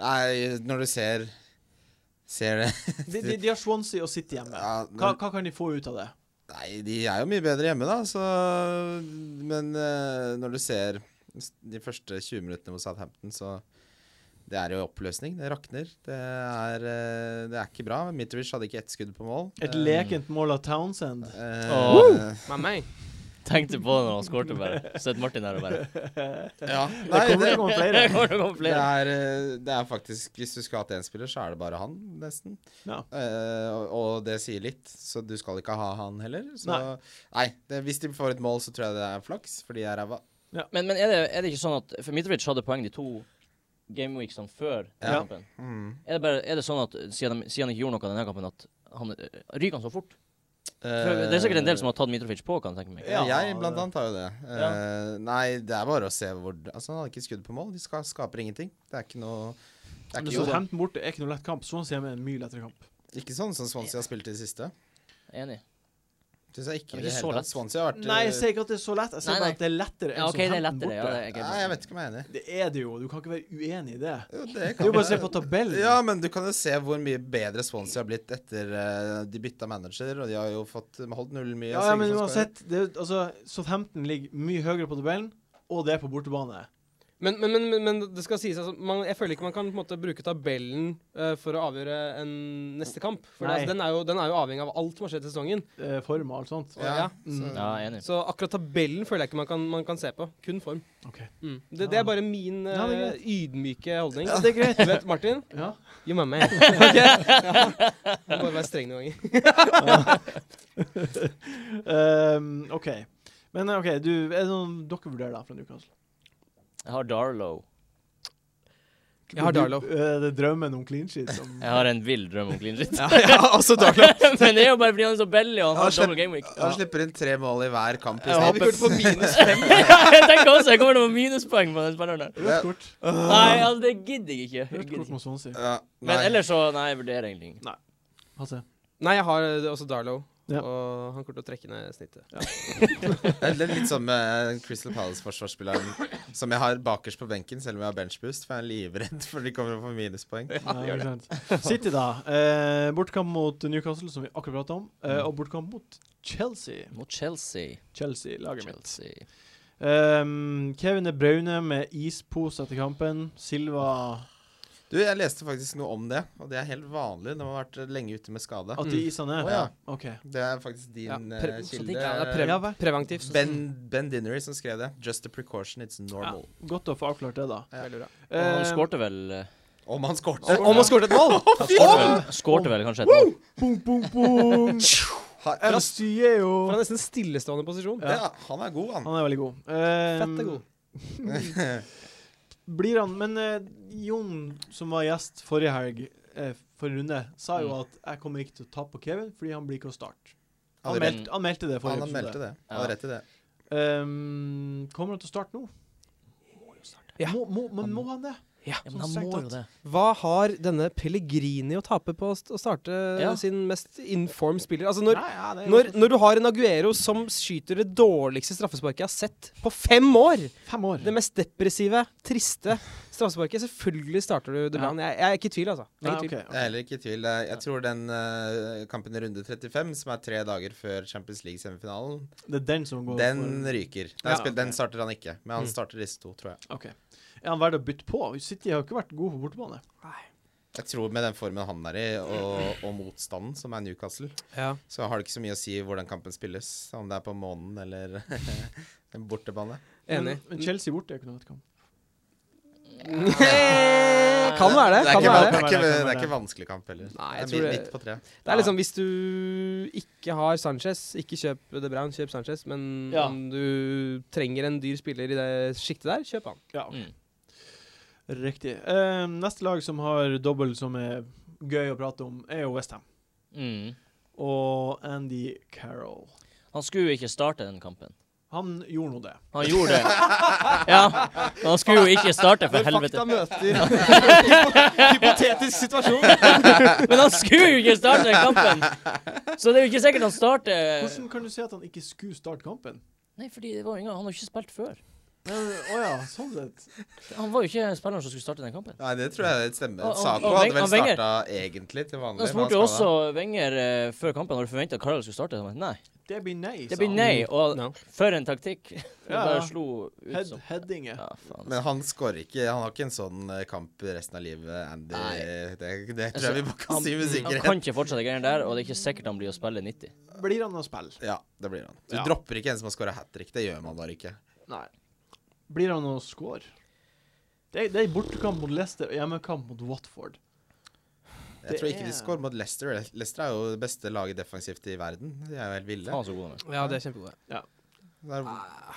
[SPEAKER 4] nei, når du ser Ser det
[SPEAKER 1] De, de, de har Swansea og City hjemme.
[SPEAKER 4] <laughs> ja,
[SPEAKER 1] Hva,
[SPEAKER 4] når,
[SPEAKER 1] hva kan de få ut av det?
[SPEAKER 4] Nei, de er jo mye bedre hjemme, da, så Men eh, når du ser de første 20 minuttene mot Southampton, så Det er jo oppløsning. Det rakner. Det er, eh, det er ikke bra. Mitrovic hadde ikke ett skudd på mål.
[SPEAKER 1] Et lekent mål av
[SPEAKER 4] <laughs>
[SPEAKER 1] Townsend.
[SPEAKER 4] Eh,
[SPEAKER 2] Åh.
[SPEAKER 4] eh,
[SPEAKER 3] Mamma.
[SPEAKER 2] Tenkte på det når han skårte, bare. Sett Martin her og bare
[SPEAKER 1] <laughs>
[SPEAKER 4] ja.
[SPEAKER 1] Det
[SPEAKER 4] Nei,
[SPEAKER 1] kommer
[SPEAKER 4] det,
[SPEAKER 1] til å komme flere.
[SPEAKER 2] Det
[SPEAKER 4] <laughs>
[SPEAKER 2] kommer til å komme
[SPEAKER 4] det,
[SPEAKER 2] <laughs> flere.
[SPEAKER 4] er, eh, det er faktisk Hvis du skulle hatt én spiller, så er det bare han, nesten.
[SPEAKER 1] Ja.
[SPEAKER 4] Eh, og, og det sier litt, så du skal ikke ha han heller. Så nei,
[SPEAKER 1] Nei.
[SPEAKER 4] det, hvis de får et mål, så tror jeg det er flaks, for de er ræva.
[SPEAKER 2] Men, men er, det, er det ikke sånn at For Mitrovic hadde poeng de to gameweeksene før
[SPEAKER 1] Ja.
[SPEAKER 2] kampen.
[SPEAKER 4] Mm.
[SPEAKER 2] Er det, bare, er det sånn at siden, de, siden han ikke gjorde noe denne kampen, at han eh, ryker han så fort? For
[SPEAKER 4] Eh,
[SPEAKER 2] det er sikkert en del som har tatt Mitrovic på, kan jeg tenke meg.
[SPEAKER 4] ja,
[SPEAKER 1] Ja,
[SPEAKER 4] Eh, Jeg blant annet har jo det. Eh, Nei, det er bare å se hvor Altså, han hadde ikke skudd på mål. De ska- skaper ingenting. Det er ikke noe det er
[SPEAKER 1] Men
[SPEAKER 4] ikke,
[SPEAKER 1] så
[SPEAKER 4] noe-
[SPEAKER 1] Hampton borte er ikke noe lett kamp. Swansea hjemme er en mye lettere kamp.
[SPEAKER 4] ikke sånn som Swansea har spilt i det siste.
[SPEAKER 2] Enig.
[SPEAKER 4] Synes jeg
[SPEAKER 2] Det er
[SPEAKER 4] ikke, i det
[SPEAKER 2] ikke
[SPEAKER 4] hele
[SPEAKER 2] så
[SPEAKER 4] tatt.
[SPEAKER 2] lett.
[SPEAKER 4] Swansea har vært
[SPEAKER 1] Nei, jeg
[SPEAKER 4] eh,
[SPEAKER 1] sier ikke at det er så lett. Jeg sier
[SPEAKER 2] Nei,
[SPEAKER 1] bare
[SPEAKER 2] nei.
[SPEAKER 1] at det er lettere enn
[SPEAKER 2] Ja, OK, det er
[SPEAKER 1] Southampton
[SPEAKER 2] lettere. Ja, det
[SPEAKER 1] borte.
[SPEAKER 2] er
[SPEAKER 4] Nei, jeg vet ikke om jeg er enig.
[SPEAKER 1] det, er det jo. Du kan ikke være uenig i det.
[SPEAKER 4] Jo, det
[SPEAKER 1] Det er jo bare å se på tabellen.
[SPEAKER 4] Ja, men du kan jo se hvor mye bedre Swansea har blitt etter eh, de bytta manager, og de har jo fått de har holdt nullen mye.
[SPEAKER 1] Ja,
[SPEAKER 4] så
[SPEAKER 1] ja,
[SPEAKER 4] ingen
[SPEAKER 1] men
[SPEAKER 4] som skårer.
[SPEAKER 1] uansett det, er- altså, Southampton ligger mye høyere på tabellen, og det er på bortebane.
[SPEAKER 3] Men, men, men, men, men det skal sies altså, man, jeg føler ikke man kan på en måte, bruke tabellen eh, for å avgjøre en neste kamp. For
[SPEAKER 1] Nei.
[SPEAKER 3] altså, den, er jo, den er jo avhengig av alt som har skjedd i sesongen.
[SPEAKER 1] eh, Form og alt sånt.
[SPEAKER 3] Ja.
[SPEAKER 1] Mm.
[SPEAKER 2] Ja, enig.
[SPEAKER 3] Så akkurat tabellen føler jeg ikke man kan, man kan se på. Kun form.
[SPEAKER 1] OK.
[SPEAKER 3] Mm. Det, det er bare min eh,
[SPEAKER 1] Ja, det er greit.
[SPEAKER 3] ydmyke holdning.
[SPEAKER 1] Ja, det er greit.
[SPEAKER 3] <laughs> Du vet, Martin?
[SPEAKER 1] Ja.
[SPEAKER 3] You my man. <laughs> Ok? Ja. Må Bare være streng noen ganger.
[SPEAKER 1] <laughs> Ehm, OK. Men eh, OK, du, er det noen dere vurderer da fra Newcastle?
[SPEAKER 2] Jeg har Darlow.
[SPEAKER 3] Jeg har Darlow.
[SPEAKER 1] Du- eh, det er drømmen om clean sheet
[SPEAKER 3] <laughs>
[SPEAKER 1] som
[SPEAKER 2] Jeg har en vill drøm om clean shit.
[SPEAKER 3] Ja, ja, også
[SPEAKER 2] <laughs>
[SPEAKER 3] Darlow.
[SPEAKER 2] men det er jo bare fordi han er så belly og han
[SPEAKER 4] Ja,
[SPEAKER 2] har
[SPEAKER 4] slipp-
[SPEAKER 2] double game week.
[SPEAKER 4] Han slipper inn tre mål i hver kamp. i
[SPEAKER 2] Jeg
[SPEAKER 4] snitt.
[SPEAKER 3] Vi kommer til å få minus
[SPEAKER 2] <laughs>
[SPEAKER 3] fem.
[SPEAKER 2] jeg tenker også jeg kommer til å få minuspoeng på den spilleren der.
[SPEAKER 1] Rødt kort.
[SPEAKER 2] Nei, altså, det gidder jeg ikke. Jeg
[SPEAKER 1] Rødt
[SPEAKER 2] gidder
[SPEAKER 1] kort
[SPEAKER 2] ikke.
[SPEAKER 1] mot Swansea.
[SPEAKER 4] Ja,
[SPEAKER 2] Men
[SPEAKER 4] nei.
[SPEAKER 2] ellers så Nei, jeg vurderer egentlig ikke.
[SPEAKER 1] Hasse.
[SPEAKER 3] Nei, jeg har eh, også Darlow.
[SPEAKER 1] Ja.
[SPEAKER 3] Og han kommer til å trekke ned snittet.
[SPEAKER 4] Det er litt som med Crystal Palace-forsvarsspilleren som jeg har bakerst på benken, selv om jeg har benchboost, for jeg er livredd for de kommer til å få minuspoeng.
[SPEAKER 1] Nei, ikke sant. City, da. Eh, bortkamp mot Newcastle, som vi akkurat pratet om. Eh, og bortkamp mot Chelsea.
[SPEAKER 2] Mot Chelsea.
[SPEAKER 1] Chelsea, laget mitt.
[SPEAKER 2] Chelsea.
[SPEAKER 1] Ehm, Kevin De Braune med ispose etter kampen. Silva
[SPEAKER 4] Du, jeg leste faktisk noe om det, og det er helt vanlig når man har vært lenge ute med skade.
[SPEAKER 1] At de isa ned?
[SPEAKER 4] Mm. Å, ja.
[SPEAKER 1] OK.
[SPEAKER 4] Det er faktisk din
[SPEAKER 3] Ja,
[SPEAKER 4] eh,
[SPEAKER 3] pre-
[SPEAKER 2] så det ikke
[SPEAKER 4] kilde.
[SPEAKER 3] Ja, det er
[SPEAKER 1] Ja,
[SPEAKER 3] pre
[SPEAKER 1] vel.
[SPEAKER 3] preventivt.
[SPEAKER 4] ben, ben Dinnery som skrev det. Just a precaution, it's normal.
[SPEAKER 1] Godt å få avklart det, da.
[SPEAKER 3] Veldig bra.
[SPEAKER 2] Og han
[SPEAKER 1] Ehm,
[SPEAKER 2] skårte vel eh,
[SPEAKER 4] Om han skårte!
[SPEAKER 3] Om han skåret et
[SPEAKER 1] <laughs>
[SPEAKER 3] mål!
[SPEAKER 2] Skårte vel, skårte vel kanskje et mål.
[SPEAKER 1] Boom, boom, boom!
[SPEAKER 4] <laughs> Ha-
[SPEAKER 1] El Styeo.
[SPEAKER 3] Fra nesten stillestående posisjon.
[SPEAKER 4] Ja. han er god, han.
[SPEAKER 1] Han er veldig god. Ehm,
[SPEAKER 3] Fett er god.
[SPEAKER 1] Blir han Men eh, Jon, som var gjest forrige helg, eh, forrige runde, sa jo
[SPEAKER 2] Mm.
[SPEAKER 1] at 'jeg kommer ikke til å tape på Kevin fordi han blir ikke å starte'. Han,
[SPEAKER 2] men-
[SPEAKER 4] Hadde rett,
[SPEAKER 1] meldte- han meldte det forrige
[SPEAKER 4] han meldte det. Han
[SPEAKER 2] Ja.
[SPEAKER 4] hadde rett i det.
[SPEAKER 1] Ehm, kommer han til å starte nå?
[SPEAKER 3] Ja.
[SPEAKER 1] Må, må, men må han det? Sånn
[SPEAKER 2] Ja, men han må jo det.
[SPEAKER 3] Hva har denne Pellegrini å tape på å st- å starte
[SPEAKER 2] Ja.
[SPEAKER 3] sin mest inform spiller? Altså når,
[SPEAKER 1] Nei, ja, det er jo
[SPEAKER 3] når, når du har en Aguero som skyter det dårligste straffesparket jeg har sett på fem år!
[SPEAKER 1] fem år.
[SPEAKER 3] Det mest depressive, triste straffesparket. Selvfølgelig starter du det
[SPEAKER 1] Ja. Ah,
[SPEAKER 3] Jeg, jeg er ikke i tvil, altså. Jeg
[SPEAKER 1] Nei,
[SPEAKER 3] er ikke i tvil.
[SPEAKER 1] ok.
[SPEAKER 4] Jeg er heller ikke i tvil. Jeg jeg tror den eh, kampen i runde 35, som er tre dager før Champions League-semifinalen,
[SPEAKER 1] Det er den som går
[SPEAKER 4] den ryker. Den,
[SPEAKER 1] Ja,
[SPEAKER 4] spil- den
[SPEAKER 1] ok.
[SPEAKER 4] starter han ikke, men han
[SPEAKER 3] Mm.
[SPEAKER 4] starter disse to, tror jeg.
[SPEAKER 1] for OK. Er han verdt å bytte på? City har jo ikke vært gode på bortebane.
[SPEAKER 4] Jeg tror med den formen han er i, og, og motstanden, som er Newcastle,
[SPEAKER 3] Ja.
[SPEAKER 4] så har det ikke så mye å si hvordan kampen spilles. Om det er på månen eller <laughs> en bortebane.
[SPEAKER 3] Enig.
[SPEAKER 1] Men, men Chelsea borte er jo ikke noe kamp.
[SPEAKER 3] Kan være det.
[SPEAKER 4] Det er
[SPEAKER 3] Kan være det.
[SPEAKER 4] ikke, det er
[SPEAKER 1] Kan
[SPEAKER 4] ikke,
[SPEAKER 1] være det, kan
[SPEAKER 4] det er
[SPEAKER 1] være
[SPEAKER 4] ikke vanskelig kamp heller.
[SPEAKER 3] Nei, jeg
[SPEAKER 4] det er
[SPEAKER 3] tror
[SPEAKER 4] midt,
[SPEAKER 3] det-
[SPEAKER 4] midt på treet.
[SPEAKER 3] Det er liksom hvis du ikke har Sanchez, ikke kjøp De Bruyne, kjøp Sanchez. Men
[SPEAKER 1] Ja.
[SPEAKER 3] om du trenger en dyr spiller i det sjiktet der, kjøp han.
[SPEAKER 1] Ja, ok.
[SPEAKER 2] Mm.
[SPEAKER 1] Riktig. Eh, neste lag som har dobbel som er gøy å prate om, er jo Westham.
[SPEAKER 2] Mm.
[SPEAKER 1] Og Andy Carroll.
[SPEAKER 2] Han skulle jo ikke starte den kampen.
[SPEAKER 1] Han gjorde nå det.
[SPEAKER 2] Han gjorde det. Ja, men han skulle jo ikke starte,
[SPEAKER 1] <laughs>
[SPEAKER 2] for helvete.
[SPEAKER 3] møter <laughs> Hypotetisk situasjon.
[SPEAKER 2] <laughs> Men han skulle jo ikke starte den kampen! Så det er jo ikke sikkert han starter
[SPEAKER 1] Hvordan kan du si at han ikke skulle starte kampen?
[SPEAKER 2] Nei, fordi det var jo ingen, han har jo ikke spilt før.
[SPEAKER 1] Å ja, sånn sett.
[SPEAKER 2] Han var jo ikke spilleren som skulle starte den kampen.
[SPEAKER 4] Nei, det tror jeg stemmer.
[SPEAKER 2] Og- og-
[SPEAKER 4] Sako
[SPEAKER 2] og Weng-
[SPEAKER 4] hadde vel
[SPEAKER 2] og Wenger-
[SPEAKER 4] starta egentlig til vanlig.
[SPEAKER 2] Han
[SPEAKER 4] men han
[SPEAKER 2] spurte jo
[SPEAKER 4] skadet.
[SPEAKER 2] også Wenger eh, før kampen har du forventa at Carl skulle starte. Han sa nei.
[SPEAKER 1] Det blir nei,
[SPEAKER 2] Det blir nei, og
[SPEAKER 3] No.
[SPEAKER 2] for en taktikk. <laughs> Det
[SPEAKER 1] Ja,
[SPEAKER 2] bare
[SPEAKER 1] ja.
[SPEAKER 2] slo ut
[SPEAKER 1] Head,
[SPEAKER 2] som
[SPEAKER 1] headinger.
[SPEAKER 2] Ja, faen.
[SPEAKER 4] Men han skårer ikke. Han har ikke en sånn eh, kamp resten av livet, Andy.
[SPEAKER 2] Nei. Altså,
[SPEAKER 4] Det, det tror jeg vi bare kan si med
[SPEAKER 2] Han
[SPEAKER 4] sikkerhet.
[SPEAKER 2] kan ikke fortsette greiene der, og det er ikke sikkert han blir å spille 90.
[SPEAKER 1] Blir han å spille?
[SPEAKER 4] Ja, det blir han. Du
[SPEAKER 1] Ja.
[SPEAKER 4] dropper ikke en som har skåra hat trick. Det gjør man bare ikke.
[SPEAKER 1] Nei. Blir han å score? Det er, det er bortekamp mot Leicester og hjemmekamp mot Watford.
[SPEAKER 4] Jeg
[SPEAKER 1] Det
[SPEAKER 4] tror ikke
[SPEAKER 1] er-
[SPEAKER 4] de skårer mot Leicester. Le- Leicester er jo det beste laget defensivt i verden. De er jo helt ville.
[SPEAKER 2] Faen så god han er.
[SPEAKER 3] Ja, det er kjempegode.
[SPEAKER 4] Det er-
[SPEAKER 3] Jeg-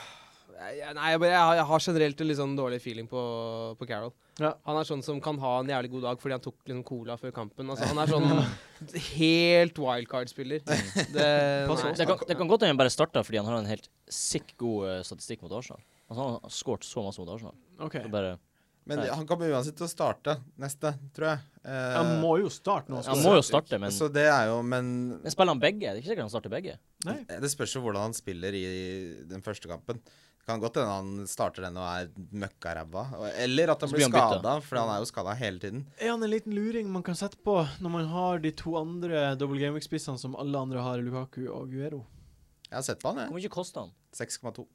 [SPEAKER 3] Eh, Nei, jeg, bare, jeg, har- jeg har generelt en litt sånn dårlig feeling på, på Carol.
[SPEAKER 1] Ja.
[SPEAKER 3] Han er sånn som kan ha en jævlig god dag fordi han tok liksom cola før kampen. Altså, han er sånn
[SPEAKER 2] <laughs>
[SPEAKER 3] helt wildcard-spiller. Det,
[SPEAKER 1] Pass
[SPEAKER 3] nei.
[SPEAKER 1] oss.
[SPEAKER 2] Det kan, det kan godt hende han bare starta fordi han har en helt sikk god eh, statistikk mot Arsenal. Altså, han har skåret så masse mot Arsenal.
[SPEAKER 1] OK.
[SPEAKER 2] Det er bare,
[SPEAKER 4] Men de- han kommer uansett til å starte neste, tror jeg. Eh,
[SPEAKER 1] Han må jo starte nå.
[SPEAKER 2] han må jo starte, men,
[SPEAKER 4] Så det er jo Men
[SPEAKER 2] men spiller han begge? Det er ikke sikkert han starter begge.
[SPEAKER 1] Nei.
[SPEAKER 4] Eh, Det spørs jo hvordan han spiller i den første kampen. Det kan godt hende han starter den og er møkkaræva. og- Eller at han
[SPEAKER 2] Så
[SPEAKER 4] blir
[SPEAKER 2] blir han bytta.
[SPEAKER 4] skada, for han er jo skada hele tiden.
[SPEAKER 1] Er han en liten luring man kan sette på når man har de to andre double game week-spissene som alle andre har, Lukaku og Guero?
[SPEAKER 4] Jeg har sett på han,
[SPEAKER 2] Hvor
[SPEAKER 4] jeg.
[SPEAKER 2] mye koster han?
[SPEAKER 4] 6,2.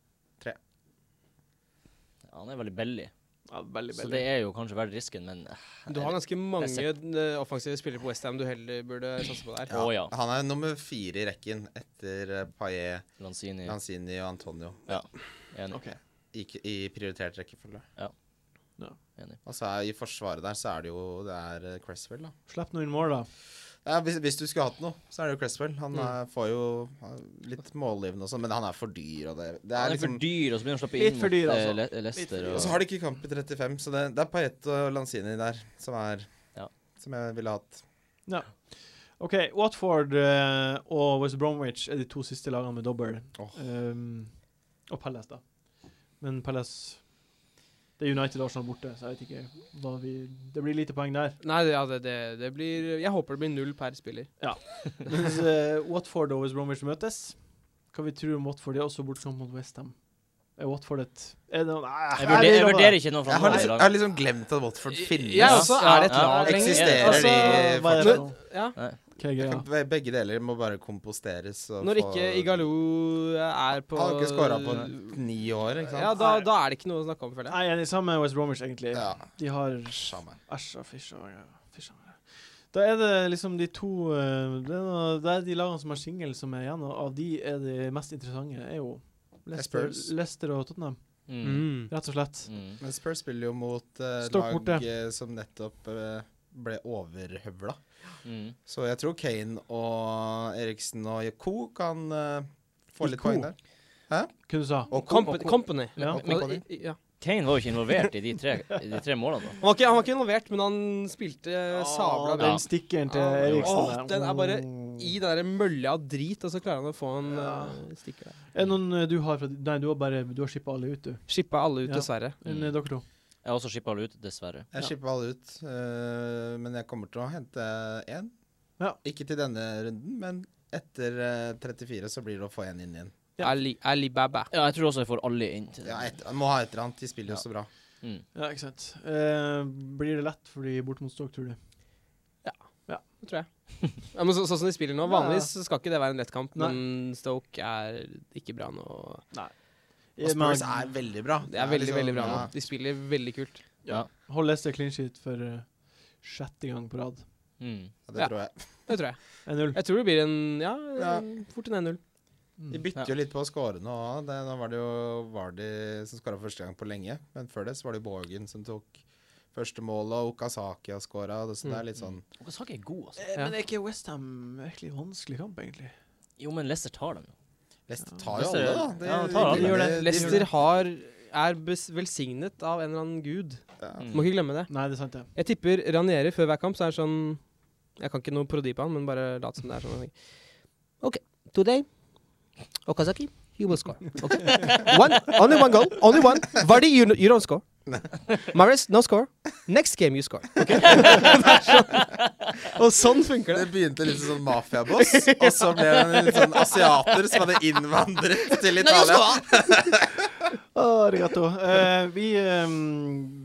[SPEAKER 2] Ja, han er veldig billig,
[SPEAKER 1] Ja, veldig,
[SPEAKER 2] så det er jo kanskje verdt risken, men eh,
[SPEAKER 3] Du har ganske mange
[SPEAKER 2] Jeg
[SPEAKER 3] eh, offensive spillere på Westham du heller burde satse på der.
[SPEAKER 2] Ja. Å, ja.
[SPEAKER 4] Han er nummer fire i rekken etter eh, Paillet,
[SPEAKER 2] Lanzini
[SPEAKER 4] Lanzini og Antonio
[SPEAKER 2] enig.
[SPEAKER 1] OK.
[SPEAKER 4] i, k- i prioritert rekkefølge.
[SPEAKER 2] Ja.
[SPEAKER 1] Ja.
[SPEAKER 2] Enig.
[SPEAKER 4] Og så er i forsvaret der, så er det jo det er eh, Cresswell, da.
[SPEAKER 1] Slipp nå inn mål, da.
[SPEAKER 4] Ja, hvis, hvis du skulle hatt noe, så er det jo Cresswell. Han er, får jo eh, litt mållivende og sånn, men han er for dyr, og det, det er
[SPEAKER 2] Han er
[SPEAKER 4] liksom
[SPEAKER 2] for dyr, og så begynner han å slippe
[SPEAKER 1] Litt
[SPEAKER 2] inn
[SPEAKER 1] for dyr,
[SPEAKER 2] mot eh,
[SPEAKER 1] altså.
[SPEAKER 2] Le-
[SPEAKER 1] for
[SPEAKER 2] Leicester.
[SPEAKER 1] dyr.
[SPEAKER 2] og-
[SPEAKER 4] Og så har de ikke kamp i 35, så det, det er Paillette og Lanzini der som er
[SPEAKER 2] Ja.
[SPEAKER 4] Som jeg ville hatt.
[SPEAKER 1] OK, Watford eh, og West Bromwich er de to siste lagene med dobbel.
[SPEAKER 4] Åh.
[SPEAKER 1] Um, og Palace, da. Men Palace Det er United og Arsenal borte, så jeg vet ikke hva vi Det blir lite poeng der.
[SPEAKER 3] Nei, det, ja, det, det, det blir Jeg håper det blir null per spiller.
[SPEAKER 1] Mens eh, Watford og West Bromwich møtes. Hva vi tror om Watford? Det er også bortekamp mot Westham. Er Watford et er det, Ah, nei,
[SPEAKER 2] Jeg vurderer, jeg
[SPEAKER 1] vet
[SPEAKER 2] vurderer ikke noe fra
[SPEAKER 4] Jeg har,
[SPEAKER 2] noen
[SPEAKER 4] liksom,
[SPEAKER 2] lag.
[SPEAKER 4] jeg har liksom glemt at Watford finnes.
[SPEAKER 3] Jeg også. Er det et
[SPEAKER 2] Ja,
[SPEAKER 3] lag
[SPEAKER 2] ja,
[SPEAKER 3] lenger?
[SPEAKER 4] Eksisterer
[SPEAKER 1] Altså,
[SPEAKER 4] de
[SPEAKER 1] hva er det
[SPEAKER 4] fortsatt?
[SPEAKER 1] for noe?
[SPEAKER 3] Ja.
[SPEAKER 1] Hva er greia?
[SPEAKER 4] Be- Begge deler må bare komposteres. Og
[SPEAKER 3] Når
[SPEAKER 4] få-
[SPEAKER 3] ikke Igalo er på
[SPEAKER 4] Han har ikke skåra på ni år, ikke
[SPEAKER 3] Ja,
[SPEAKER 4] sant?
[SPEAKER 3] da, da er det ikke noe å snakke om, føler jeg.
[SPEAKER 1] Nei, jeg er enig, sammen med West Bromwich, egentlig.
[SPEAKER 4] Ja.
[SPEAKER 1] De har
[SPEAKER 4] Samme.
[SPEAKER 1] Æsj og fysj og fysj og Da er det liksom de to eh, Det er, noe, det er de lagene som har singel som er igjen, og av de er de mest interessante er jo Leicester,
[SPEAKER 4] Spurs.
[SPEAKER 1] Leicester og Tottenham,
[SPEAKER 2] Mm.
[SPEAKER 1] rett og slett.
[SPEAKER 2] Mm.
[SPEAKER 4] Men Spurs spiller jo mot eh,
[SPEAKER 1] Stoke
[SPEAKER 4] lag
[SPEAKER 1] borte.
[SPEAKER 4] eh, som nettopp eh, ble overhøvla.
[SPEAKER 2] Mm.
[SPEAKER 4] Så jeg tror Kane og Eriksen og Co kan eh, få litt
[SPEAKER 1] Co.
[SPEAKER 4] poeng der.
[SPEAKER 1] Hva du sa
[SPEAKER 4] Og Co-
[SPEAKER 3] Comp
[SPEAKER 4] og Co-
[SPEAKER 3] company.
[SPEAKER 1] Ja.
[SPEAKER 4] og Company.
[SPEAKER 3] Altså, I- ja.
[SPEAKER 2] Kane var jo ikke involvert i de tre, i de tre målene. da.
[SPEAKER 3] Han, var ikke, han var ikke involvert, men han spilte
[SPEAKER 1] Eh,
[SPEAKER 3] eh,
[SPEAKER 1] Ah,
[SPEAKER 3] sabla
[SPEAKER 1] Å,
[SPEAKER 3] bra.
[SPEAKER 1] Den stikkeren til
[SPEAKER 3] Ja.
[SPEAKER 1] Eriksen
[SPEAKER 3] Åh, den er bare
[SPEAKER 1] Mm.
[SPEAKER 3] I den der mølja av drit, og så klarer han å få en
[SPEAKER 1] Ja.
[SPEAKER 3] eh, stikker der.
[SPEAKER 1] Er det noen eh, du har fra Nei, du har bare Du har shippa alle ut, du.
[SPEAKER 3] Shippa alle ut,
[SPEAKER 1] Ja.
[SPEAKER 3] dessverre.
[SPEAKER 1] Men
[SPEAKER 2] Mm.
[SPEAKER 1] eh, dere to.
[SPEAKER 2] Jeg har også shippa alle ut, dessverre.
[SPEAKER 1] Ja.
[SPEAKER 4] Jeg skipper alle ut, øh, men jeg kommer til å hente én.
[SPEAKER 1] Ja.
[SPEAKER 4] Ikke til denne runden, men etter øh, 34 så blir det å få én inn igjen.
[SPEAKER 1] Ja.
[SPEAKER 3] Ali, Alibaba.
[SPEAKER 2] Ja, jeg tror også jeg får alle inn til
[SPEAKER 4] Ja, et, må ha et eller annet. De spiller jo
[SPEAKER 2] Ja.
[SPEAKER 4] så bra.
[SPEAKER 2] Mm.
[SPEAKER 1] Ja, ikke sant. Eh, blir det lett for de borte mot Stoke, tror du?
[SPEAKER 3] Det tror jeg. Ja, men så, sånn som de spiller nå,
[SPEAKER 1] Ja, ja.
[SPEAKER 3] vanligvis så skal ikke det være en lett kamp, men Stoke er ikke bra nå.
[SPEAKER 4] Og
[SPEAKER 1] Eh,
[SPEAKER 4] Spurs er veldig bra.
[SPEAKER 3] Det er veldig,
[SPEAKER 4] liksom-
[SPEAKER 3] veldig bra nå.
[SPEAKER 4] ja.
[SPEAKER 3] De spiller veldig kult.
[SPEAKER 2] Ja.
[SPEAKER 1] Hold Leicester clean sheet for eh, sjette gang på rad.
[SPEAKER 2] Mm.
[SPEAKER 4] Ja, det
[SPEAKER 3] Ja.
[SPEAKER 4] tror jeg.
[SPEAKER 3] Det tror jeg.
[SPEAKER 1] 1-0.
[SPEAKER 3] Jeg tror det blir en ja,
[SPEAKER 4] Ja.
[SPEAKER 3] fort en 1-0.
[SPEAKER 4] De
[SPEAKER 1] Mm.
[SPEAKER 4] bytter jo litt på å score nå òg. Nå var det jo Vardy som skåra første gang på lenge, men før det så var det Borgen som tok første mål, og Okazaki har skåra. Så det er
[SPEAKER 2] Mm.
[SPEAKER 4] litt sånn
[SPEAKER 2] Okazaki er god, altså.
[SPEAKER 1] Eh,
[SPEAKER 3] Ja.
[SPEAKER 1] Men er ikke Westham virkelig vanskelig kamp, egentlig?
[SPEAKER 2] Jo, men Leicester tar dem jo.
[SPEAKER 4] Leicester tar jo
[SPEAKER 2] Leicester-
[SPEAKER 4] alle, da.
[SPEAKER 2] ja, de tar alle.
[SPEAKER 1] De gjør det.
[SPEAKER 3] Leicester har, er bes velsignet av en eller annen gud.
[SPEAKER 4] Ja.
[SPEAKER 2] Mm.
[SPEAKER 3] Må ikke glemme det.
[SPEAKER 1] Nei, det er sant, det.
[SPEAKER 3] Jeg tipper Ranieri før hver kamp, så er det sånn Jeg kan ikke noe parodi på han, men bare lat som det er sånn. jeg tenker. OK. Today, Okazaki, you will score. Okay. One, only one goal. Only one. Vardy, you, you don't score. Maris, no score. Next game you score. <laughs> Det er sånn. Og sånn funker det.
[SPEAKER 4] Det begynte litt som sånn mafiaboss, og så ble han en litt sånn asiater som hadde innvandret til Italia.
[SPEAKER 1] Arigato. Eh, vi, eh,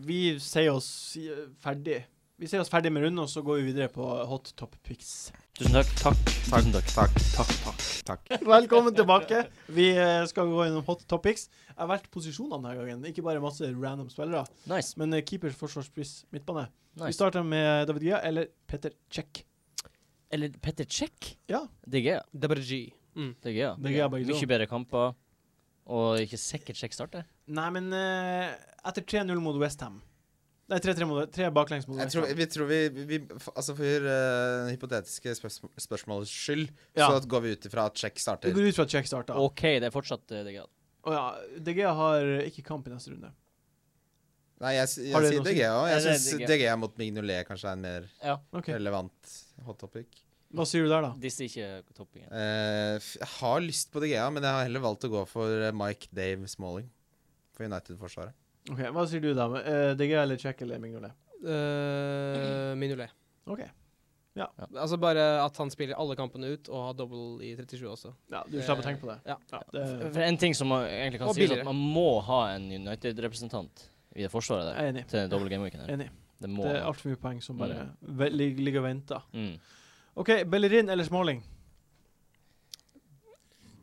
[SPEAKER 1] vi sier oss eh, ferdig. Vi sier oss ferdig med runden, og så går vi videre på hot top picks.
[SPEAKER 2] Tusen takk. Takk. Tusen takk.
[SPEAKER 4] Takk, takk, takk. takk.
[SPEAKER 1] Velkommen tilbake. Vi eh, skal gå gjennom hot topics. Jeg har valgt posisjonene denne gangen, ikke bare masse random spillere.
[SPEAKER 2] Nice.
[SPEAKER 1] Men eh, keepers, forsvarsspiss, midtbane. Vi
[SPEAKER 2] nice.
[SPEAKER 1] starter med David Gea eller Petter Cech.
[SPEAKER 2] Eller Petter Check?
[SPEAKER 1] Ja.
[SPEAKER 2] Digger jeg.
[SPEAKER 3] Debergy. Mm.
[SPEAKER 2] Digger jeg.
[SPEAKER 1] Digger jeg liksom- begge to.
[SPEAKER 2] Mye bedre kamper. Og ikke sikkert Check starter.
[SPEAKER 1] Nei, men eh, etter 3-0 mot Westham Nei, 3-3 mot Tre baklengs mot
[SPEAKER 4] Jeg tror,
[SPEAKER 1] Westham.
[SPEAKER 4] vi tror vi, vi f- Altså for eh, hypotetiske spørsmål, spørsmålets skyld,
[SPEAKER 1] Ja.
[SPEAKER 4] så går vi ut ifra at Check
[SPEAKER 1] Vi
[SPEAKER 4] starter.
[SPEAKER 1] går ut fra at Cech starta. Og
[SPEAKER 2] OK, det er fortsatt uh, digger jeg.
[SPEAKER 1] ja, De Gea har eh, ikke kamp i neste runde.
[SPEAKER 4] Nei, jeg, s- jeg,
[SPEAKER 1] Har dere
[SPEAKER 4] sier
[SPEAKER 1] noe å si?
[SPEAKER 4] DG òg. Jeg
[SPEAKER 2] Ja, det er
[SPEAKER 4] syns
[SPEAKER 2] DG.
[SPEAKER 4] DG mot Mignolet kanskje er en mer
[SPEAKER 2] Ja.
[SPEAKER 1] OK.
[SPEAKER 4] relevant hot topic.
[SPEAKER 1] Hva sier du der, da?
[SPEAKER 2] Disse er ikke toppingen.
[SPEAKER 4] Eh, f- jeg har lyst på DG, men jeg har heller valgt å gå for eh, Mike Dave Smalling for United-forsvaret.
[SPEAKER 1] Ok, Hva sier du da? Uh, De Gea eller Cech eller Mignolet?
[SPEAKER 3] Eh, Mignolet.
[SPEAKER 1] OK.
[SPEAKER 3] Altså bare at han spiller alle kampene ut og har double i 37 også.
[SPEAKER 1] Ja, du slipper å tenke på det.
[SPEAKER 3] Ja.
[SPEAKER 1] det
[SPEAKER 2] For en ting som man egentlig kan
[SPEAKER 3] Og
[SPEAKER 2] si, er
[SPEAKER 3] billigere.
[SPEAKER 2] at man må ha en United-representant i det forsvaret
[SPEAKER 1] jeg
[SPEAKER 2] der.
[SPEAKER 1] er enig.
[SPEAKER 2] Til double gameweeken her.
[SPEAKER 1] enig.
[SPEAKER 2] Det må
[SPEAKER 1] Det er
[SPEAKER 2] man.
[SPEAKER 1] altfor mye poeng som bare ve- lig- ligger og venter.
[SPEAKER 2] Mm.
[SPEAKER 1] OK, Bellerin eller Smalling?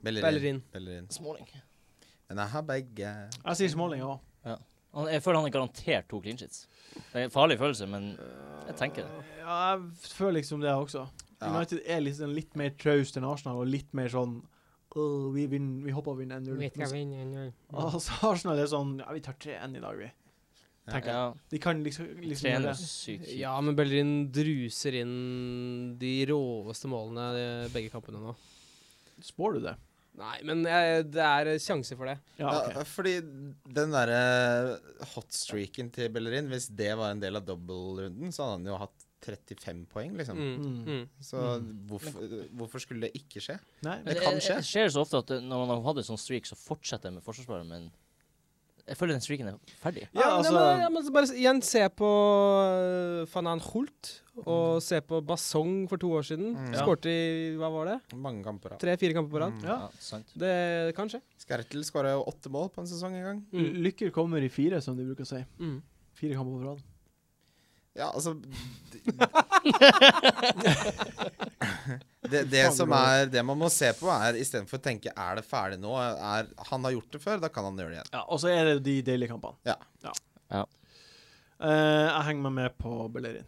[SPEAKER 3] Bellerin.
[SPEAKER 4] Bellerin.
[SPEAKER 2] Småling.
[SPEAKER 4] Men jeg har begge.
[SPEAKER 1] Jeg sier Smalling òg.
[SPEAKER 2] Han, jeg føler han er garantert to clean sheets. Det er en farlig følelse, men jeg tenker det.
[SPEAKER 1] Ja, jeg føler liksom det også.
[SPEAKER 4] Ja.
[SPEAKER 1] United er liksom litt mer traust enn Arsenal, og litt mer sånn «Åh, vi, vinner, vi håper å vinne 1-0. Mens- Altså, Arsenal er sånn Ja, vi tar 3-1 i dag, vi. Tenker jeg.
[SPEAKER 2] Ja,
[SPEAKER 1] De kan liksom, liksom gjøre
[SPEAKER 2] trener
[SPEAKER 1] det.
[SPEAKER 2] sykt kjipt.
[SPEAKER 3] Ja, men Bellerin druser inn de råeste målene i begge kampene nå.
[SPEAKER 1] Spår du det?
[SPEAKER 3] Nei, men eh, det er sjanse for det.
[SPEAKER 1] Ja,
[SPEAKER 4] Ja,
[SPEAKER 1] OK.
[SPEAKER 4] fordi den derre hotstreaken til Bellerin, hvis det var en del av dobbeltrunden, så hadde han jo hatt 35 poeng, liksom.
[SPEAKER 3] Mm. Mm.
[SPEAKER 4] Så hvorfor, hvorfor skulle det ikke skje?
[SPEAKER 1] Nei,
[SPEAKER 2] Men
[SPEAKER 4] Det kan skje.
[SPEAKER 2] Det skjer så ofte at eh, når man har hatt en sånn streak, så fortsetter jeg med forsvarsspilleren, men jeg føler den streaken er ferdig.
[SPEAKER 1] Ja,
[SPEAKER 3] Ja,
[SPEAKER 1] altså-
[SPEAKER 3] nei, men, ja, men så bare s- igjen se på uh, Fanan Holt og se på Basong for to år siden.
[SPEAKER 4] Mm.
[SPEAKER 1] Mm. Ja.
[SPEAKER 3] Skårte i hva var det?
[SPEAKER 4] Mange kamper av.
[SPEAKER 3] Tre-fire kamper på rad.
[SPEAKER 4] Mm.
[SPEAKER 1] ja.
[SPEAKER 2] Ja, sant.
[SPEAKER 3] Det kan skje.
[SPEAKER 4] Skertel skåra jo åtte mål på en sesong en gang.
[SPEAKER 1] L- Lykker kommer i fire, som de bruker å si.
[SPEAKER 3] Mm.
[SPEAKER 1] Fire kamper på rad.
[SPEAKER 4] Ja, altså <laughs> det, det som er Det man må se på, er istedenfor å tenke 'er det ferdig nå', er 'han har gjort det før', da kan han gjøre det igjen.
[SPEAKER 1] Ja, og så er det jo de deilige kampene.
[SPEAKER 4] Ja.
[SPEAKER 2] Ja.
[SPEAKER 1] Eh, jeg henger meg med på Bellerin.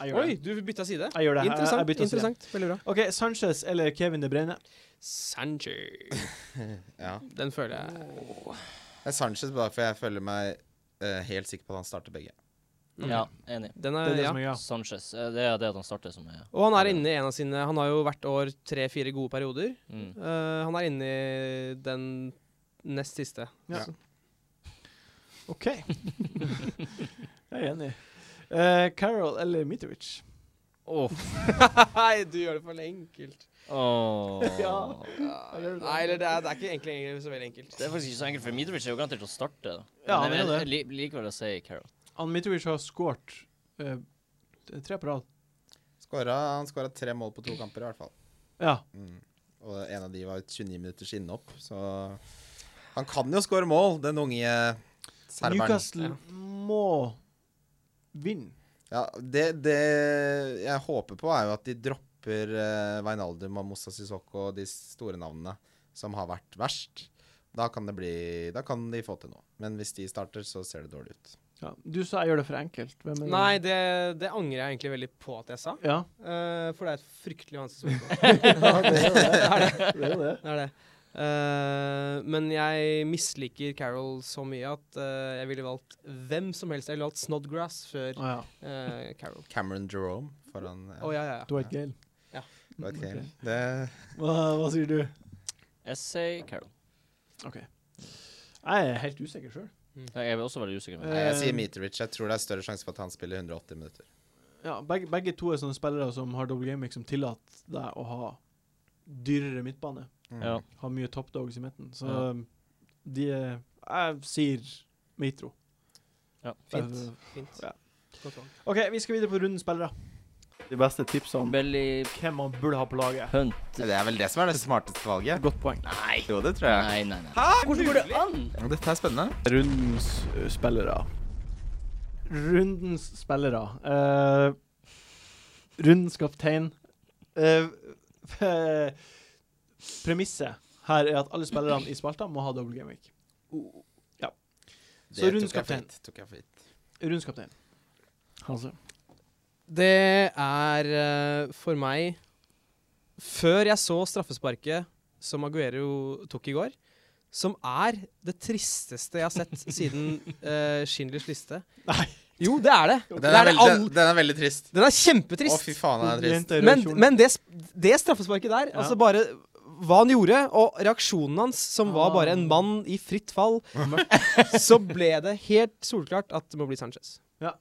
[SPEAKER 1] Jeg gjør
[SPEAKER 3] Oi,
[SPEAKER 1] det.
[SPEAKER 3] du bytta side.
[SPEAKER 1] Jeg gjør det. Jeg-
[SPEAKER 3] Interessant.
[SPEAKER 1] Jeg, bytter side.
[SPEAKER 3] interessant. Veldig bra.
[SPEAKER 1] OK, Sanchez eller Kevin De Bruyne?
[SPEAKER 3] Sanchez.
[SPEAKER 4] Ja.
[SPEAKER 3] Den føler jeg
[SPEAKER 4] Det er Sanchez bare for jeg føler meg eh, helt sikker på at han starter begge.
[SPEAKER 3] Mm.
[SPEAKER 2] Ja, enig.
[SPEAKER 1] Det
[SPEAKER 3] Den
[SPEAKER 1] er
[SPEAKER 3] er,
[SPEAKER 1] det
[SPEAKER 3] ja.
[SPEAKER 1] som er ja.
[SPEAKER 2] Sanchez. eh, Det er det at han starter som er
[SPEAKER 3] Og han er inne i en av sine Han har jo hvert år tre-fire gode perioder.
[SPEAKER 2] mm.
[SPEAKER 3] Eh, han er inne i den nest siste.
[SPEAKER 1] Ja.
[SPEAKER 3] Så- <laughs>
[SPEAKER 1] OK. jeg er enig. Eh, Carol eller Mitrovic?
[SPEAKER 2] Åh.
[SPEAKER 3] <laughs> Nei, du gjør det for enkelt.
[SPEAKER 2] Åh.
[SPEAKER 1] Ja.
[SPEAKER 3] Nei, eller det er, det er ikke egentlig, egentlig så veldig enkelt.
[SPEAKER 2] Det er faktisk ikke så enkelt, for Mitrovic er jo garantert å starte. da.
[SPEAKER 1] Ja,
[SPEAKER 2] Men
[SPEAKER 1] han er
[SPEAKER 2] jeg,
[SPEAKER 1] jo
[SPEAKER 2] jeg, li- likevel å si Carol.
[SPEAKER 1] Han Mitrovic har skåret eh, tre på rad.
[SPEAKER 4] Skåra, han skåra tre mål på to kamper, i hvert fall.
[SPEAKER 1] Ja.
[SPEAKER 4] Mm. Og en av de var et 29 minutters innopp, så Han kan jo skåre mål, den unge serberen.
[SPEAKER 1] Newcastle må vinne.
[SPEAKER 4] Ja, det, det jeg håper på, er jo at de dropper uh, Wijnaldum og Moussa Sissoko og de store navnene som har vært verst. Da kan, det bli, da kan de få til noe. Men hvis de starter, så ser det dårlig ut.
[SPEAKER 1] Ja. Du sa jeg gjør det for enkelt. Hvem er det?
[SPEAKER 3] Nei, det, det angrer jeg egentlig veldig på at jeg sa.
[SPEAKER 1] Ja.
[SPEAKER 3] Eh, for det er et fryktelig vanskelig spørsmål. <laughs>
[SPEAKER 1] Det er jo det.
[SPEAKER 3] Det er det. Eh, men jeg misliker Carol så mye at eh, jeg ville valgt hvem som helst. Jeg ville valgt Snodgrass før
[SPEAKER 1] Å ja.
[SPEAKER 3] eh, Carol.
[SPEAKER 4] Cameron Jerome foran
[SPEAKER 3] Å ja, ja, ja.
[SPEAKER 1] Dwight Gale.
[SPEAKER 4] Dwight Gale.
[SPEAKER 1] ok.
[SPEAKER 4] Det,
[SPEAKER 1] Hva, hva sier du?
[SPEAKER 2] Jeg sier Carol.
[SPEAKER 1] OK. Jeg er helt usikker sjøl.
[SPEAKER 2] Jeg er også veldig usikker.
[SPEAKER 4] nei, jeg
[SPEAKER 1] Eh,
[SPEAKER 4] sier Meterich. Jeg tror det er større sjanse for at han spiller 180 minutter.
[SPEAKER 1] Ja, begge, begge to er sånne spillere som har double gaming, som tillater deg å ha dyrere midtbane.
[SPEAKER 4] Mm.
[SPEAKER 2] Ja.
[SPEAKER 1] um, Har mye top dogs i midten. Så
[SPEAKER 2] Ja.
[SPEAKER 1] de er Jeg sier Mitro.
[SPEAKER 2] Ja.
[SPEAKER 3] Fint.
[SPEAKER 1] Øh,
[SPEAKER 3] Fint.
[SPEAKER 1] ja.
[SPEAKER 3] Godt valg.
[SPEAKER 1] OK, vi skal videre på runden spillere. De beste tipsa om
[SPEAKER 2] Belly
[SPEAKER 1] hvem man burde ha på laget.
[SPEAKER 2] Hunt.
[SPEAKER 4] Det er vel det som er det smarteste valget.
[SPEAKER 1] Godt poeng.
[SPEAKER 2] Nei.
[SPEAKER 4] Jo, det tror jeg.
[SPEAKER 2] Nei, nei, nei. Hvordan går det an?
[SPEAKER 4] Dette er spennende.
[SPEAKER 1] Rundens øh, spillere. Rundens spillere. Eh, rundens kaptein. Eh, eh, <laughs> Premisset her er at alle spillerne i spalta må ha double game week. Så
[SPEAKER 4] Det
[SPEAKER 1] rundens
[SPEAKER 4] tok jeg
[SPEAKER 1] kaptein.
[SPEAKER 4] fint, tok jeg fint.
[SPEAKER 1] Rundens kaptein. Hanse.
[SPEAKER 3] Det er eh, for meg Før jeg så straffesparket som Aguero tok i går, som er det tristeste jeg har sett siden eh, Schindlers liste.
[SPEAKER 1] Nei.
[SPEAKER 3] Jo, det er det.
[SPEAKER 4] Den
[SPEAKER 3] det, er
[SPEAKER 4] er,
[SPEAKER 3] det
[SPEAKER 4] veldig,
[SPEAKER 3] all,
[SPEAKER 4] den, den er veldig trist.
[SPEAKER 3] den er
[SPEAKER 4] Å,
[SPEAKER 3] kjempetrist.
[SPEAKER 4] fy faen, den er trist.
[SPEAKER 1] Jente i rød
[SPEAKER 3] Men,
[SPEAKER 1] kjole.
[SPEAKER 3] men det, sp- det straffesparket der,
[SPEAKER 1] Ja.
[SPEAKER 3] altså bare hva han gjorde, og reaksjonen hans, som var bare en
[SPEAKER 1] Ah.
[SPEAKER 3] mann i fritt fall, så ble det helt solklart at det må bli Sanchez.
[SPEAKER 1] Samme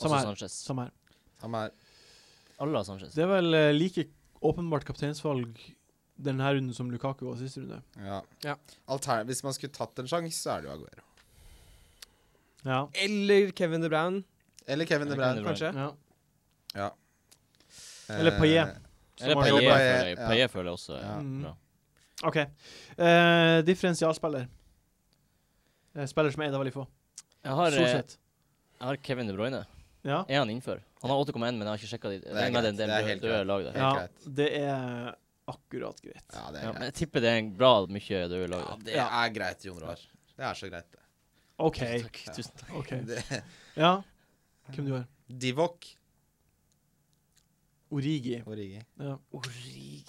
[SPEAKER 2] Også
[SPEAKER 1] her.
[SPEAKER 2] Sanchez.
[SPEAKER 1] Samme her.
[SPEAKER 4] Han er
[SPEAKER 2] Alle har Sanchez.
[SPEAKER 1] Det er vel eh, like åpenbart kapteinsvalg denne runden som Lukaku var siste runde.
[SPEAKER 4] Ja.
[SPEAKER 3] Ja.
[SPEAKER 4] Alter, hvis man skulle tatt en sjanse, så er det jo Aguero.
[SPEAKER 1] Ja.
[SPEAKER 3] Eller Kevin De Bruyne,
[SPEAKER 4] Eller Kevin De
[SPEAKER 2] Eller
[SPEAKER 4] Bruyne,
[SPEAKER 2] Kevin De
[SPEAKER 4] kanskje.
[SPEAKER 2] Bruyne.
[SPEAKER 1] ja.
[SPEAKER 4] Eh,
[SPEAKER 1] Eller Payet.
[SPEAKER 2] Eller
[SPEAKER 1] Som har
[SPEAKER 2] Paillet,
[SPEAKER 4] jobbet-
[SPEAKER 2] føler jeg.
[SPEAKER 4] Ja.
[SPEAKER 2] Paillet føler jeg også er
[SPEAKER 4] Ja.
[SPEAKER 1] Mm.
[SPEAKER 2] bra.
[SPEAKER 1] OK. Eh, differensialspiller. Eh, Spiller som er av veldig få.
[SPEAKER 2] Jeg har, eh,
[SPEAKER 1] Solseth.
[SPEAKER 2] jeg har Kevin De Bruyne.
[SPEAKER 1] Ja.
[SPEAKER 2] Er han innenfor? Han har 8,1, men jeg har ikke sjekka de. Det er,
[SPEAKER 4] greit.
[SPEAKER 2] en del
[SPEAKER 4] Det er helt
[SPEAKER 2] døde
[SPEAKER 4] greit.
[SPEAKER 2] lag der.
[SPEAKER 4] helt
[SPEAKER 1] ja.
[SPEAKER 4] greit.
[SPEAKER 1] Det er akkurat greit.
[SPEAKER 4] Ja, det
[SPEAKER 2] Ja,
[SPEAKER 4] er
[SPEAKER 2] men
[SPEAKER 4] greit.
[SPEAKER 2] jeg tipper det er en bra mye døde lag
[SPEAKER 4] Ja,
[SPEAKER 2] der.
[SPEAKER 4] det er greit, Jon Roar. Det er så greit, det.
[SPEAKER 1] OK.
[SPEAKER 2] Takk,
[SPEAKER 4] Ja.
[SPEAKER 2] tusen takk.
[SPEAKER 1] ok
[SPEAKER 4] <laughs> det.
[SPEAKER 1] Ja. Hvem du har?
[SPEAKER 4] Divok
[SPEAKER 1] Origi.
[SPEAKER 4] Origi.
[SPEAKER 1] Ja.
[SPEAKER 2] Origi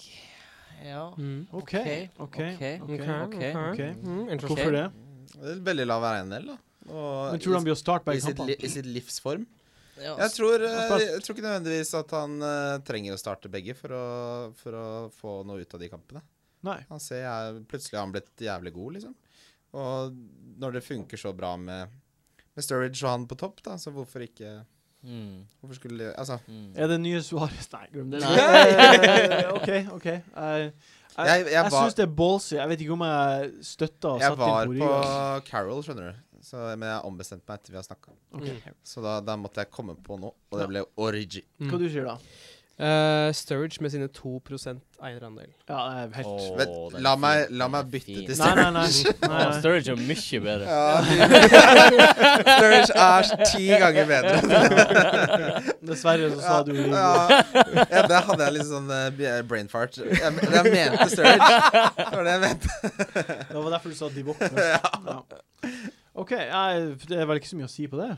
[SPEAKER 2] Ja.
[SPEAKER 1] OK.
[SPEAKER 2] Ok,
[SPEAKER 1] OK.
[SPEAKER 2] ok,
[SPEAKER 1] ok.
[SPEAKER 2] ok.
[SPEAKER 1] Ok.
[SPEAKER 3] Mm, interessant.
[SPEAKER 1] Hvorfor det?
[SPEAKER 4] Det er Veldig lav eiendel, da. Og
[SPEAKER 1] Men tror du han blir å starte
[SPEAKER 4] i,
[SPEAKER 1] begge
[SPEAKER 4] i, sitt,
[SPEAKER 1] kampene?
[SPEAKER 4] li- I sitt livsform.
[SPEAKER 2] Ja,
[SPEAKER 4] Jeg tror, eh,
[SPEAKER 1] han spart-
[SPEAKER 4] jeg tror ikke nødvendigvis at han eh, trenger å starte begge for å, for å få noe ut av de kampene.
[SPEAKER 1] Nei.
[SPEAKER 4] Han ser, jeg- plutselig har han blitt jævlig god, liksom. Og når det funker så bra med, med Sturridge og han på topp, da, så hvorfor ikke
[SPEAKER 2] Mm,
[SPEAKER 4] Hvorfor skulle de Altså,
[SPEAKER 2] mm.
[SPEAKER 1] Er det nye Suarez <laughs> Nei, glem det.
[SPEAKER 2] Nei.
[SPEAKER 1] Eh, OK, OK. Jeg, jeg,
[SPEAKER 4] jeg,
[SPEAKER 1] jeg
[SPEAKER 4] jeg var
[SPEAKER 1] syns det er ballsy. Jeg vet ikke om jeg støtter å
[SPEAKER 4] Jeg
[SPEAKER 1] sette
[SPEAKER 4] var
[SPEAKER 1] inn
[SPEAKER 4] på
[SPEAKER 1] Origi.
[SPEAKER 4] Carol, skjønner du. Så, men jeg ombestemte meg etter vi har snakka.
[SPEAKER 2] Mm.
[SPEAKER 1] Ok.
[SPEAKER 4] Så da, da måtte jeg komme på noe, og det ble Origi.
[SPEAKER 1] Hva du sier da?
[SPEAKER 3] Mm. Eh, Sturridge med sine 2 eierandel.
[SPEAKER 1] Ja, jeg er helt
[SPEAKER 2] Åh,
[SPEAKER 4] Men
[SPEAKER 2] den er
[SPEAKER 4] la
[SPEAKER 2] fin,
[SPEAKER 4] meg, la
[SPEAKER 2] den er
[SPEAKER 4] meg bytte
[SPEAKER 2] fin.
[SPEAKER 4] til
[SPEAKER 1] Nei, nei,
[SPEAKER 4] Sturridge. <laughs>
[SPEAKER 1] nei. <laughs> nei,
[SPEAKER 2] Ja,
[SPEAKER 1] nei.
[SPEAKER 2] Sturridge er mye <laughs> bedre.
[SPEAKER 4] <laughs> Sturridge er ti ganger bedre.
[SPEAKER 1] <laughs> Dessverre så sa du Origi.
[SPEAKER 4] Ja, ja, der hadde jeg litt sånn eh, brain fart. Jeg, jeg mente Sturridge. Det var det jeg mente.
[SPEAKER 1] Det var derfor du sa Divok
[SPEAKER 2] <laughs>
[SPEAKER 1] først. Ja. OK, jeg, det er vel ikke så mye å si på det.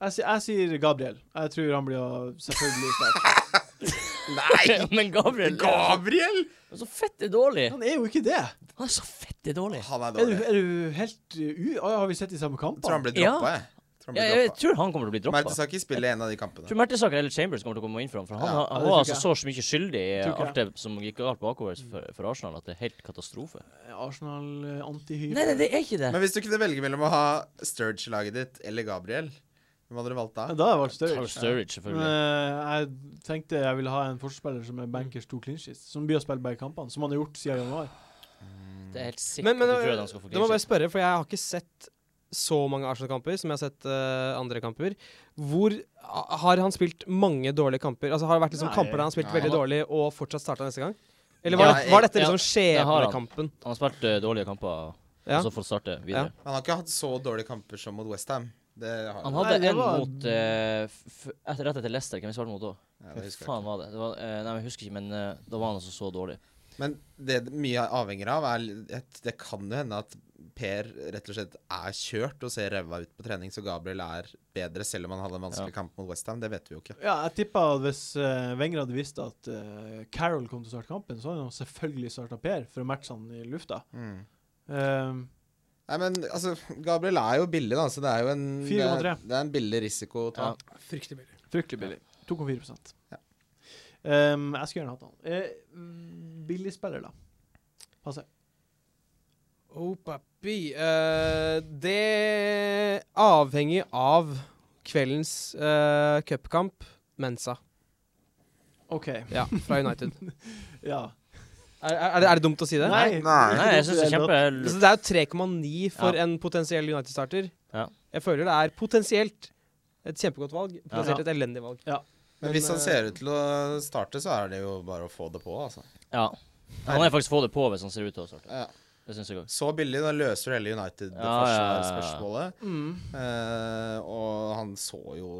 [SPEAKER 1] Jeg, sier- jeg sier Gabriel. Jeg tror han blir å
[SPEAKER 2] <laughs>
[SPEAKER 1] selvfølgelig sterk.
[SPEAKER 4] Nei!
[SPEAKER 2] Men Gabriel Han
[SPEAKER 4] Gabriel!
[SPEAKER 2] er så fette dårlig.
[SPEAKER 1] Han er jo ikke det.
[SPEAKER 2] Han er så fette dårlig.
[SPEAKER 4] Han er
[SPEAKER 1] Er du,
[SPEAKER 4] dårlig.
[SPEAKER 1] er du helt u... Å, har vi sett de samme
[SPEAKER 4] Jeg tror
[SPEAKER 1] kampene?
[SPEAKER 4] han ble
[SPEAKER 2] Ja.
[SPEAKER 4] droppa, jeg. Jeg Tror han
[SPEAKER 2] Ja,
[SPEAKER 4] ble
[SPEAKER 2] jeg
[SPEAKER 4] droppa.
[SPEAKER 2] tror han kommer til å bli droppa. Jeg
[SPEAKER 4] Mertesaker spiller en av de kampene.
[SPEAKER 2] tror Mertesaker eller Chambers kommer til å komme inn for ham. For han,
[SPEAKER 4] Ja,
[SPEAKER 2] har-
[SPEAKER 1] det
[SPEAKER 2] han
[SPEAKER 1] tror
[SPEAKER 2] var
[SPEAKER 1] ikke
[SPEAKER 2] altså så mye skyldig i
[SPEAKER 1] Tror ikke
[SPEAKER 2] alt det som gikk galt bakover for, for Arsenal, at det er helt katastrofe.
[SPEAKER 1] Arsenal-antihyper.
[SPEAKER 2] Nei, nei, det er ikke det.
[SPEAKER 4] Men hvis du kunne velge mellom å ha Sturge i laget ditt eller Gabriel, hvem hadde du valgt da?
[SPEAKER 1] Da har jeg valgt
[SPEAKER 2] Tar
[SPEAKER 1] Sturridge.
[SPEAKER 2] Sturridge,
[SPEAKER 1] Men
[SPEAKER 2] selvfølgelig.
[SPEAKER 1] eh, jeg tenkte jeg ville ha en forsvarsspiller som er bankers to clinches, som blir å spille begge kampene, som han har gjort siden januar.
[SPEAKER 2] Det er helt sikkert
[SPEAKER 3] Men, men
[SPEAKER 2] at
[SPEAKER 3] eh,
[SPEAKER 2] du tror at han skal få
[SPEAKER 3] da må jeg bare
[SPEAKER 2] clean sheet.
[SPEAKER 3] spørre, for jeg har ikke sett så mange Arsenal-kamper som jeg har sett eh, andre kamper. Hvor ha- har han spilt mange dårlige kamper? Altså Har det vært liksom
[SPEAKER 1] Nei.
[SPEAKER 3] kamper der han har spilt
[SPEAKER 4] Nei.
[SPEAKER 3] veldig dårlig og fortsatt starta neste gang? Eller var,
[SPEAKER 4] Ja,
[SPEAKER 3] det, var dette
[SPEAKER 2] ja,
[SPEAKER 3] liksom
[SPEAKER 2] det har han.
[SPEAKER 3] skjebnekampen?
[SPEAKER 2] Han har spilt eh, dårlige kamper,
[SPEAKER 3] Ja.
[SPEAKER 2] og så får han starte videre.
[SPEAKER 4] Han har ikke hatt så dårlige kamper som mot Westham. Det har
[SPEAKER 2] Han
[SPEAKER 4] han.
[SPEAKER 2] hadde
[SPEAKER 1] Nei, det
[SPEAKER 2] en
[SPEAKER 1] var-
[SPEAKER 2] mot eh, f etter, Rett etter Leicester. Hvem vi svarte mot da?
[SPEAKER 4] Ja, det
[SPEAKER 2] Hva
[SPEAKER 4] husker jeg
[SPEAKER 2] faen var det? det var, eh, nei, jeg husker ikke, men eh, da var han altså så dårlig.
[SPEAKER 4] ikke. Men det det mye avhenger av, er at det kan jo hende at Per rett og slett er kjørt og ser ræva ut på trening, så Gabriel er bedre, selv om han hadde en vanskelig kamp mot Westham. Det vet vi jo ikke.
[SPEAKER 1] Ja, jeg tippa at hvis uh, Wenger hadde visst at eh, Carroll kom til å starte kampen, så hadde han selvfølgelig starta Per for å matche han i lufta.
[SPEAKER 4] Mm.
[SPEAKER 1] Eh,
[SPEAKER 4] Nei, men altså, Gabriel er jo billig, da, så det er jo en, det er,
[SPEAKER 1] 4,3.
[SPEAKER 4] det er en billig risiko å ta.
[SPEAKER 2] Ja.
[SPEAKER 3] Fryktelig billig.
[SPEAKER 1] Fryktelig billig. 2,4
[SPEAKER 4] Ja.
[SPEAKER 1] Ehm, Jeg skulle gjerne hatt han. Eh, billig spiller, da. Passe.
[SPEAKER 3] Oh, papi. Eh, det avhenger av kveldens eh, cupkamp, Mensa,
[SPEAKER 1] OK.
[SPEAKER 3] ja, fra United.
[SPEAKER 1] Ja.
[SPEAKER 3] <laughs> er, er, er det- er det dumt å si det?
[SPEAKER 4] Nei.
[SPEAKER 2] Nei, jeg syns det er kjempe...
[SPEAKER 3] Så det er jo 3,9 for
[SPEAKER 2] Ja.
[SPEAKER 3] en potensiell United-starter.
[SPEAKER 2] Ja.
[SPEAKER 3] Jeg føler det er potensielt et kjempegodt valg, potensielt et elendig valg.
[SPEAKER 4] Men hvis han
[SPEAKER 2] eh,
[SPEAKER 4] ser ut til å starte, så er det jo bare å få det på, altså.
[SPEAKER 2] Ja. Han er faktisk få det på hvis han ser ut til å starte.
[SPEAKER 4] Ja.
[SPEAKER 2] Det syns jeg også.
[SPEAKER 4] Så billig, da løser du hele
[SPEAKER 2] Ja, ja, ja, ja.
[SPEAKER 4] United-spørsmålet.
[SPEAKER 1] Mm.
[SPEAKER 4] Eh, og han så jo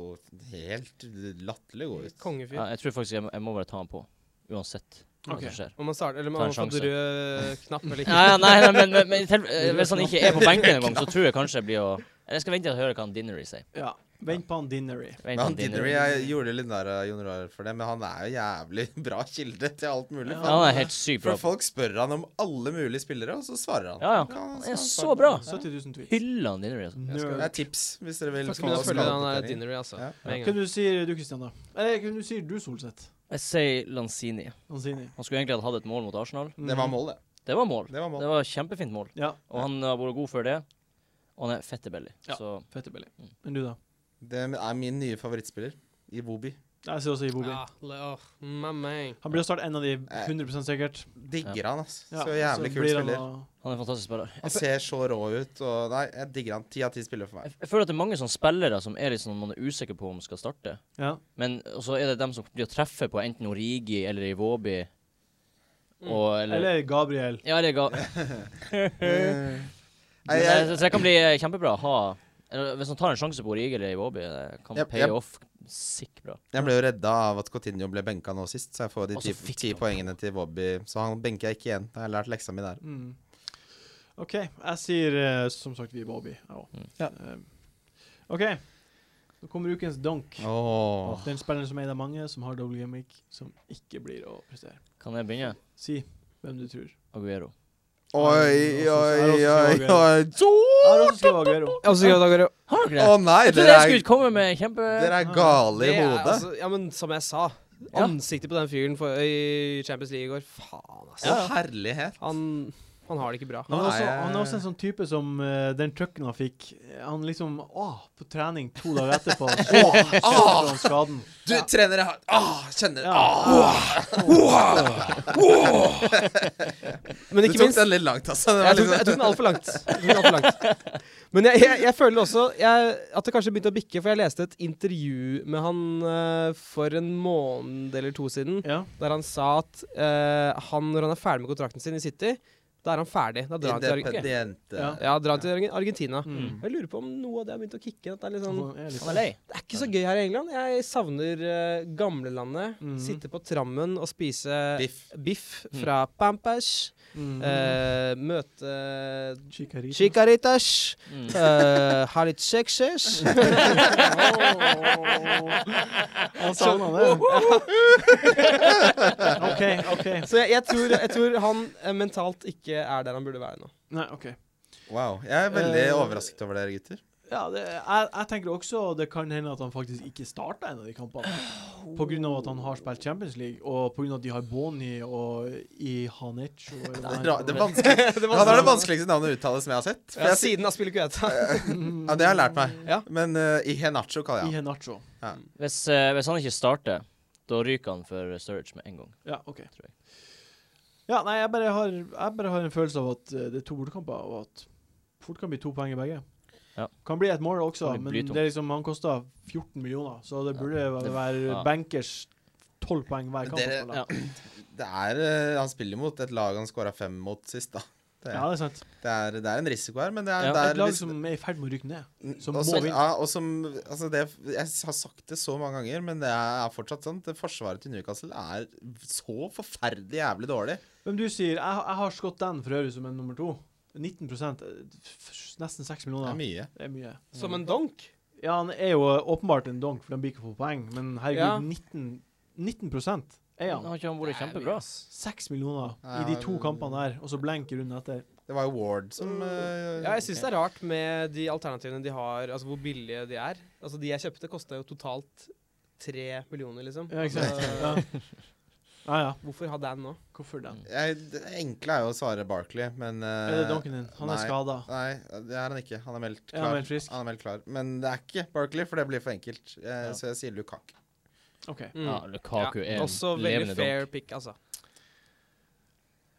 [SPEAKER 4] helt latterlig god ut.
[SPEAKER 3] Kongefyr.
[SPEAKER 2] Ja, jeg tror faktisk jeg, må- jeg må bare ta han på. Uansett hva
[SPEAKER 1] Ok.
[SPEAKER 2] som skjer.
[SPEAKER 3] Om man starter, eller om man
[SPEAKER 2] Ta en
[SPEAKER 3] har fått
[SPEAKER 2] sjanse.
[SPEAKER 3] rød knapp eller ikke.
[SPEAKER 2] Nei, <laughs> ja, nei, nei men, men, men til, eh, hvis han ikke er på benken engang, så tror jeg kanskje jeg blir å Eller jeg skal vente til jeg hører hva han Dinnery sier.
[SPEAKER 1] Ja. Vent på han Dinnery.
[SPEAKER 2] Vent
[SPEAKER 4] Men
[SPEAKER 2] til
[SPEAKER 4] han Diddery,
[SPEAKER 2] Dinnery.
[SPEAKER 4] jeg gjorde litt narr av Jon Roar for det, men han er jo jævlig <laughs> bra kilde til alt mulig.
[SPEAKER 2] Ja, han er helt sykt bra.
[SPEAKER 4] For folk spør han om alle mulige spillere, og så svarer han.
[SPEAKER 2] Ja, ja.
[SPEAKER 4] Han
[SPEAKER 2] Han er så
[SPEAKER 4] svarer.
[SPEAKER 2] bra.
[SPEAKER 1] 70 000 tweets.
[SPEAKER 2] Hyller han Dinnery, altså.
[SPEAKER 4] Det er
[SPEAKER 1] Nerd.
[SPEAKER 4] tips, hvis dere vil.
[SPEAKER 3] Skal begynne å følge den der
[SPEAKER 4] skadeoppdatering.
[SPEAKER 3] Dinnery, altså.
[SPEAKER 4] Ja.
[SPEAKER 3] Med en
[SPEAKER 1] Hva
[SPEAKER 3] gang.
[SPEAKER 1] du sier du, Kristian, da? Eller hva du sier du, Solseth?
[SPEAKER 2] Jeg sier Lanzini.
[SPEAKER 1] Lanzini.
[SPEAKER 2] Han skulle egentlig hatt et mål mot Arsenal.
[SPEAKER 1] Mm.
[SPEAKER 4] Det var mål, det.
[SPEAKER 2] Det var mål.
[SPEAKER 4] Det var mål.
[SPEAKER 2] Det var et kjempefint mål.
[SPEAKER 1] Ja.
[SPEAKER 2] Og han har vært god før det. Og han er fette belly.
[SPEAKER 1] Ja.
[SPEAKER 2] Så
[SPEAKER 1] Fette Belly. Men du, da?
[SPEAKER 4] Det er min nye favorittspiller i Wobi.
[SPEAKER 1] Jeg ser også i Bobi.
[SPEAKER 3] Ja, le- åh, mamma.
[SPEAKER 1] Han blir å starte en av de 100 sikkert.
[SPEAKER 4] Digger han, altså.
[SPEAKER 1] Ja,
[SPEAKER 4] Eh. så jævlig kul
[SPEAKER 1] blir han
[SPEAKER 4] spiller.
[SPEAKER 1] å-
[SPEAKER 2] han er en fantastisk spiller.
[SPEAKER 4] Han ser så rå ut, og nei, jeg digger han. Ti av ti spiller for
[SPEAKER 2] Jeg,
[SPEAKER 4] meg.
[SPEAKER 2] jeg føler at det er mange sånne spillere som er litt sånn man er usikker på om skal starte.
[SPEAKER 1] Ja.
[SPEAKER 2] Men og så er det dem som blir å treffe på enten Origi eller Iwobi. Og eller,
[SPEAKER 1] Eller Gabriel.
[SPEAKER 2] Ja, det ga
[SPEAKER 4] <laughs> Nei,
[SPEAKER 2] Så-
[SPEAKER 4] jeg,
[SPEAKER 2] så, så det kan bli eh, kjempebra å ha eller, Hvis man tar en sjanse på Origi eller Iwobi, det kan
[SPEAKER 4] Jep,
[SPEAKER 2] pay
[SPEAKER 4] jep.
[SPEAKER 2] off sick bra.
[SPEAKER 4] jeg ble jo redda av at Cotinho ble benka nå sist, så jeg får de
[SPEAKER 2] Og så
[SPEAKER 4] ti,
[SPEAKER 2] fikk
[SPEAKER 4] ti
[SPEAKER 2] han.
[SPEAKER 4] poengene til Wobi. Så han benker jeg ikke igjen. Da har jeg lært leksa mi der.
[SPEAKER 1] Mm. OK. Jeg sier eh, som sagt vi Bobby. jeg også.
[SPEAKER 4] Ja.
[SPEAKER 1] Eh, OK. Nå kommer ukens donk.
[SPEAKER 4] Åh.
[SPEAKER 1] Den spilleren som er det mange som har double gimmick, som ikke blir å prestere.
[SPEAKER 2] Kan jeg begynne?
[SPEAKER 1] Si hvem du tror.
[SPEAKER 2] Aguero.
[SPEAKER 4] Oi, oi, oi,
[SPEAKER 1] Jeg
[SPEAKER 4] oi.
[SPEAKER 1] Jeg
[SPEAKER 4] Så-
[SPEAKER 1] har også skrevet Aguero.
[SPEAKER 3] Og så går det
[SPEAKER 2] Har dere det?
[SPEAKER 4] Å nei,
[SPEAKER 2] jeg
[SPEAKER 4] dere
[SPEAKER 2] trodde jeg skulle
[SPEAKER 4] er,
[SPEAKER 2] komme med kjempe...
[SPEAKER 4] dere er gale i
[SPEAKER 3] Det er,
[SPEAKER 4] hodet.
[SPEAKER 3] altså, ja, men som jeg sa,
[SPEAKER 2] Ja.
[SPEAKER 3] ansiktet på den fyren for, i Champions League i går Faen, altså.
[SPEAKER 4] Å, herlighet.
[SPEAKER 3] Han, han har det ikke bra.
[SPEAKER 1] Han er,
[SPEAKER 4] Nå er
[SPEAKER 1] også,
[SPEAKER 4] jeg-
[SPEAKER 1] han er også en sånn type som eh, den trucken han fikk Han liksom Å, på trening to dager etterpå så kjente han skaden.
[SPEAKER 4] Du, trener jeg har Åh, kjenner
[SPEAKER 1] Ja.
[SPEAKER 4] Åh.
[SPEAKER 3] Men
[SPEAKER 4] Du
[SPEAKER 3] ikke
[SPEAKER 4] tok
[SPEAKER 3] minst
[SPEAKER 4] den litt langt, altså. Det var
[SPEAKER 3] jeg tok,
[SPEAKER 4] liksom-
[SPEAKER 3] jeg tok den altfor langt. <laughs> Jeg tok den alt for langt. Men jeg, jeg, jeg føler også jeg, at det kanskje begynte å bikke, for jeg leste et intervju med han eh, for en måned eller to siden,
[SPEAKER 1] Ja.
[SPEAKER 3] der han sa at eh, han, når han er ferdig med kontrakten sin i City, da er han ferdig. Da drar han til, Argen-
[SPEAKER 4] Independiente.
[SPEAKER 1] Ja.
[SPEAKER 3] ja, drar han til Argen- Argentina.
[SPEAKER 1] Mm.
[SPEAKER 3] Jeg lurer på om noe av det har begynt å kicke. At det, er litt sånn,
[SPEAKER 1] Han er litt-
[SPEAKER 2] Han er lei.
[SPEAKER 3] det er ikke så gøy her i England. Jeg savner eh, gamlelandet.
[SPEAKER 1] Mhm.
[SPEAKER 3] Sitte på trammen og spise
[SPEAKER 4] Biff.
[SPEAKER 3] biff Mm. fra Pampers.
[SPEAKER 1] Mm.
[SPEAKER 3] eh, møte
[SPEAKER 1] Chikarito.
[SPEAKER 3] Chikaritas.
[SPEAKER 2] Mm.
[SPEAKER 3] eh, ha litt sexes.
[SPEAKER 1] Han savna det. <laughs> OK, OK.
[SPEAKER 3] <laughs> Så jeg, jeg, tror, jeg tror han eh, mentalt ikke er der han burde være nå.
[SPEAKER 1] Nei, OK.
[SPEAKER 4] Wow. Jeg er veldig
[SPEAKER 1] Eh,
[SPEAKER 4] overrasket over dere, gutter.
[SPEAKER 1] Ja, det, jeg, jeg tenker også det kan hende at han faktisk ikke starta en av de kampene. På grunn av at han har spilt Champions League, og på grunn av at de har Boni og Ihanic og eller hva
[SPEAKER 4] Det
[SPEAKER 1] han
[SPEAKER 4] er ra-
[SPEAKER 1] heter.
[SPEAKER 4] det vanskeligste, han er det vanskeligste navnet å uttale som jeg har sett. For
[SPEAKER 3] Ja,
[SPEAKER 4] jeg, si-
[SPEAKER 3] siden han spiller Kueta.
[SPEAKER 4] ja, det har jeg lært meg.
[SPEAKER 3] Ja.
[SPEAKER 4] Men uh, i Henacho kaller jeg han.
[SPEAKER 1] Ihenacho.
[SPEAKER 2] Hvis, eh, hvis han ikke starter, da ryker han for Sturridge med en gang.
[SPEAKER 1] Ja, OK.
[SPEAKER 2] Tror jeg.
[SPEAKER 1] Ja, nei, jeg bare har, jeg bare har en følelse av at eh, det er to bortekamper, og at fort kan bli to poeng i begge.
[SPEAKER 2] Ja.
[SPEAKER 1] Kan bli et mål også,
[SPEAKER 2] Kan bli
[SPEAKER 1] men
[SPEAKER 2] blytungt.
[SPEAKER 1] det er liksom, han kosta 14 millioner, så det burde
[SPEAKER 2] Det-
[SPEAKER 1] være
[SPEAKER 2] ja.
[SPEAKER 1] bankers 12 poeng hver
[SPEAKER 4] Men
[SPEAKER 1] kamp. å
[SPEAKER 4] dere-
[SPEAKER 1] spille.
[SPEAKER 2] Ja.
[SPEAKER 4] Det er, eh, han spiller mot et lag han scora fem mot sist, da. Det,
[SPEAKER 1] ja, det er sant.
[SPEAKER 4] det, er, det er en risiko her, men det er,
[SPEAKER 2] Ja.
[SPEAKER 4] det
[SPEAKER 1] Et
[SPEAKER 4] er liksom Mm,
[SPEAKER 1] lag
[SPEAKER 4] hvis-
[SPEAKER 1] som er i ferd med å rykke ned. som
[SPEAKER 4] og
[SPEAKER 1] må
[SPEAKER 4] som-
[SPEAKER 1] vinne.
[SPEAKER 4] Ja, og som altså det, Jeg har sagt det så mange ganger, men det er fortsatt sant. Det forsvaret til Newcastle er så forferdelig jævlig dårlig.
[SPEAKER 1] Hvem du sier Jeg, jeg har Scott Dan for øvrig som en nummer to. 19 eh, f- Nesten 6
[SPEAKER 4] Det er
[SPEAKER 1] millioner.
[SPEAKER 4] mye.
[SPEAKER 1] Det er mye.
[SPEAKER 3] <laughs> Som en donk.
[SPEAKER 1] Ja, han er jo eh, åpenbart en donk, for han blir ikke få poeng, men
[SPEAKER 3] Ja.
[SPEAKER 1] herregud, 19, 19 er han. altså.
[SPEAKER 2] Har ikke han vært kjempebra?
[SPEAKER 1] Seks millioner
[SPEAKER 4] Ja,
[SPEAKER 1] i de to
[SPEAKER 4] det-
[SPEAKER 1] kampene der, og så blank runden etter.
[SPEAKER 4] Det var jo Ward
[SPEAKER 1] Mm.
[SPEAKER 4] som eh,
[SPEAKER 3] Ja, jeg syns det er rart med de alternativene de har, altså hvor billige de er. Altså De jeg kjøpte, kosta jo totalt tre millioner, liksom.
[SPEAKER 1] Ja, ikke sant? Ja.
[SPEAKER 3] Altså,
[SPEAKER 1] Ja, ja.
[SPEAKER 3] hvorfor ha Dan nå?
[SPEAKER 1] Hvorfor den?
[SPEAKER 4] Jeg, det enkle er jo å svare Barkley, men eh,
[SPEAKER 1] Er det donken din? Han er
[SPEAKER 4] nei.
[SPEAKER 1] skada.
[SPEAKER 4] Nei, det er han ikke. Han er meldt
[SPEAKER 1] Er
[SPEAKER 4] klar.
[SPEAKER 1] han meldt frisk?
[SPEAKER 4] Han er meldt klar. Men det er ikke Barkley, for det blir for enkelt. Eh,
[SPEAKER 2] Ja.
[SPEAKER 4] Så jeg sier Lukaku.
[SPEAKER 1] OK.
[SPEAKER 3] Mm.
[SPEAKER 2] Ja, Lukaku er
[SPEAKER 3] Ja, Også
[SPEAKER 2] en
[SPEAKER 3] veldig
[SPEAKER 2] levende
[SPEAKER 3] fair
[SPEAKER 2] dom.
[SPEAKER 3] pick, altså.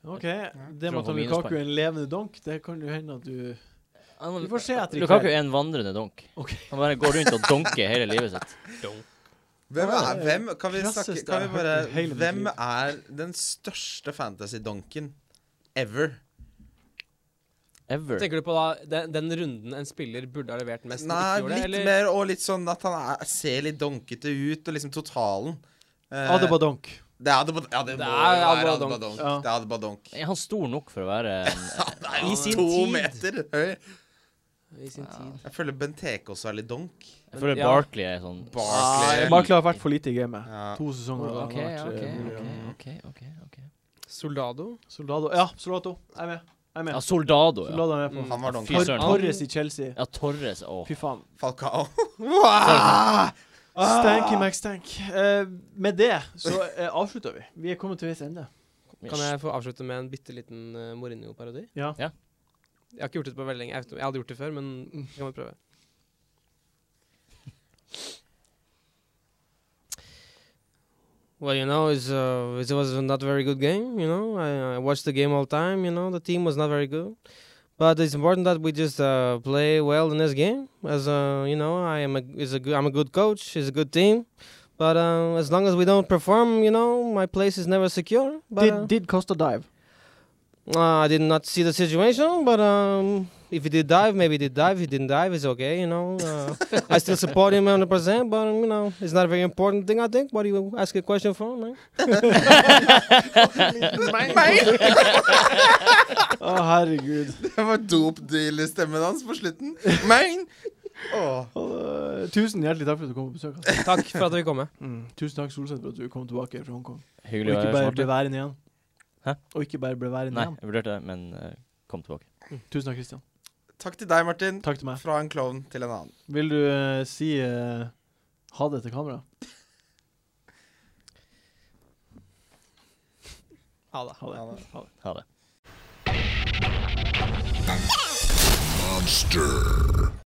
[SPEAKER 1] Ok, Det med
[SPEAKER 2] Tror
[SPEAKER 1] at
[SPEAKER 2] han får
[SPEAKER 1] Lukaku
[SPEAKER 2] minuspoeng.
[SPEAKER 1] er en levende donk, det kan jo hende at du
[SPEAKER 2] Han,
[SPEAKER 1] Vi får se etter i
[SPEAKER 2] Lukaku
[SPEAKER 1] kveld.
[SPEAKER 2] er en vandrende donk.
[SPEAKER 1] Ok.
[SPEAKER 2] Han bare går rundt og donker hele livet sitt.
[SPEAKER 4] Hvem
[SPEAKER 1] Ja,
[SPEAKER 4] er,
[SPEAKER 1] det er
[SPEAKER 4] hvem, kan vi
[SPEAKER 1] krasseste
[SPEAKER 4] snakke,
[SPEAKER 1] jeg
[SPEAKER 4] kan
[SPEAKER 1] har
[SPEAKER 4] vi bare,
[SPEAKER 1] hørt i hele mitt
[SPEAKER 4] hvem
[SPEAKER 1] liv.
[SPEAKER 4] er den største fantasy-donken ever?
[SPEAKER 2] Ever.
[SPEAKER 3] Tenker du på da den, den runden en spiller burde ha levert mest? men
[SPEAKER 4] Nei,
[SPEAKER 3] ikke gjorde det,
[SPEAKER 4] litt
[SPEAKER 3] eller?
[SPEAKER 4] mer og litt sånn at han er, ser litt donkete ut, og liksom totalen. Eh,
[SPEAKER 1] Adebadonk.
[SPEAKER 4] det er Adebad- ja, det
[SPEAKER 3] Det er
[SPEAKER 4] må være
[SPEAKER 3] Adebadonk.
[SPEAKER 4] Adebadonk.
[SPEAKER 1] Ja.
[SPEAKER 4] Det er Adebadonk.
[SPEAKER 2] Er han stor nok for å være en
[SPEAKER 4] <laughs> Han er
[SPEAKER 1] I
[SPEAKER 4] jo
[SPEAKER 1] sin
[SPEAKER 4] to
[SPEAKER 1] tid.
[SPEAKER 4] meter høy.
[SPEAKER 3] I sin tid.
[SPEAKER 4] Jeg føler Benteke også er litt donk.
[SPEAKER 2] Jeg føler
[SPEAKER 3] Ja.
[SPEAKER 2] Barkley er sånn
[SPEAKER 4] Barkley.
[SPEAKER 1] Barkley har vært for lite i gamet.
[SPEAKER 4] Ja.
[SPEAKER 1] To sesonger.
[SPEAKER 2] OK,
[SPEAKER 1] han har vært,
[SPEAKER 2] OK,
[SPEAKER 1] eh,
[SPEAKER 2] OK.
[SPEAKER 1] mulig.
[SPEAKER 2] ok, ok, ok.
[SPEAKER 3] Soldado?
[SPEAKER 1] Soldado. Ja, Soldado. Jeg er med. Jeg er med.
[SPEAKER 2] Ja, Soldado, ja.
[SPEAKER 1] Soldado er med på.
[SPEAKER 4] Han var donk.
[SPEAKER 2] Fy
[SPEAKER 1] Tor
[SPEAKER 2] søren.
[SPEAKER 1] Torres i Chelsea.
[SPEAKER 2] Ja, Torres og
[SPEAKER 1] Fy faen.
[SPEAKER 4] Falcao.
[SPEAKER 1] Stanky Max Stank. Eh, med det så eh, avslutter vi. Vi er kommet til veis ende.
[SPEAKER 3] Kan jeg få avslutte med en bitte liten eh, Mourinho-parodi?
[SPEAKER 1] Ja.
[SPEAKER 2] Ja.
[SPEAKER 3] Jeg har ikke gjort det på veldig lenge. Jeg vet- jeg hadde gjort det før, men jeg kan vi prøve. Well, you know, it's, uh, it was not a very good game. You know, I, I watched the game all time. You know, the team was not very good, but it's important that we just uh, play well in this game. As uh, you know, I am a, is a good, I'm a good coach. It's a good team, but uh, as long as we don't perform, you know, my place is never secure. But, uh,
[SPEAKER 1] Did, did cost a dive.
[SPEAKER 3] uh, I did not see the situation, but um, if he did dive, maybe he did dive. He didn't dive, it's okay, you know. Uh, I still support him 100%, but, um, you know, it's not a very important thing, I think. What do you ask a question for, man?
[SPEAKER 1] Å, herregud.
[SPEAKER 4] Det var dopdeal-stemmen hans på slutten. Main! Åh.
[SPEAKER 1] Å, eh, tusen hjertelig takk for at du kom på besøk. ass.
[SPEAKER 3] Takk for at vi kom med.
[SPEAKER 1] Mm. Tusen takk, Solseth, for at du kom tilbake fra Hongkong. Og
[SPEAKER 2] Hyggelig å
[SPEAKER 1] ikke
[SPEAKER 2] være
[SPEAKER 1] bare
[SPEAKER 2] her.
[SPEAKER 1] ble værende igjen.
[SPEAKER 2] Hæ?
[SPEAKER 1] Og ikke bare ble værende
[SPEAKER 2] Nei,
[SPEAKER 1] igjen.
[SPEAKER 2] jeg vurderte det, men eh, kom tilbake.
[SPEAKER 1] Tusen takk, Christian.
[SPEAKER 4] Takk til deg, Martin.
[SPEAKER 1] Takk til meg.
[SPEAKER 4] Fra en klovn til en annen.
[SPEAKER 1] Vil du eh, si eh, ha det til kamera?
[SPEAKER 3] Ha det.
[SPEAKER 1] Ha det.
[SPEAKER 4] Ha det.
[SPEAKER 1] Ha det.
[SPEAKER 2] Ha det.
[SPEAKER 6] Monster.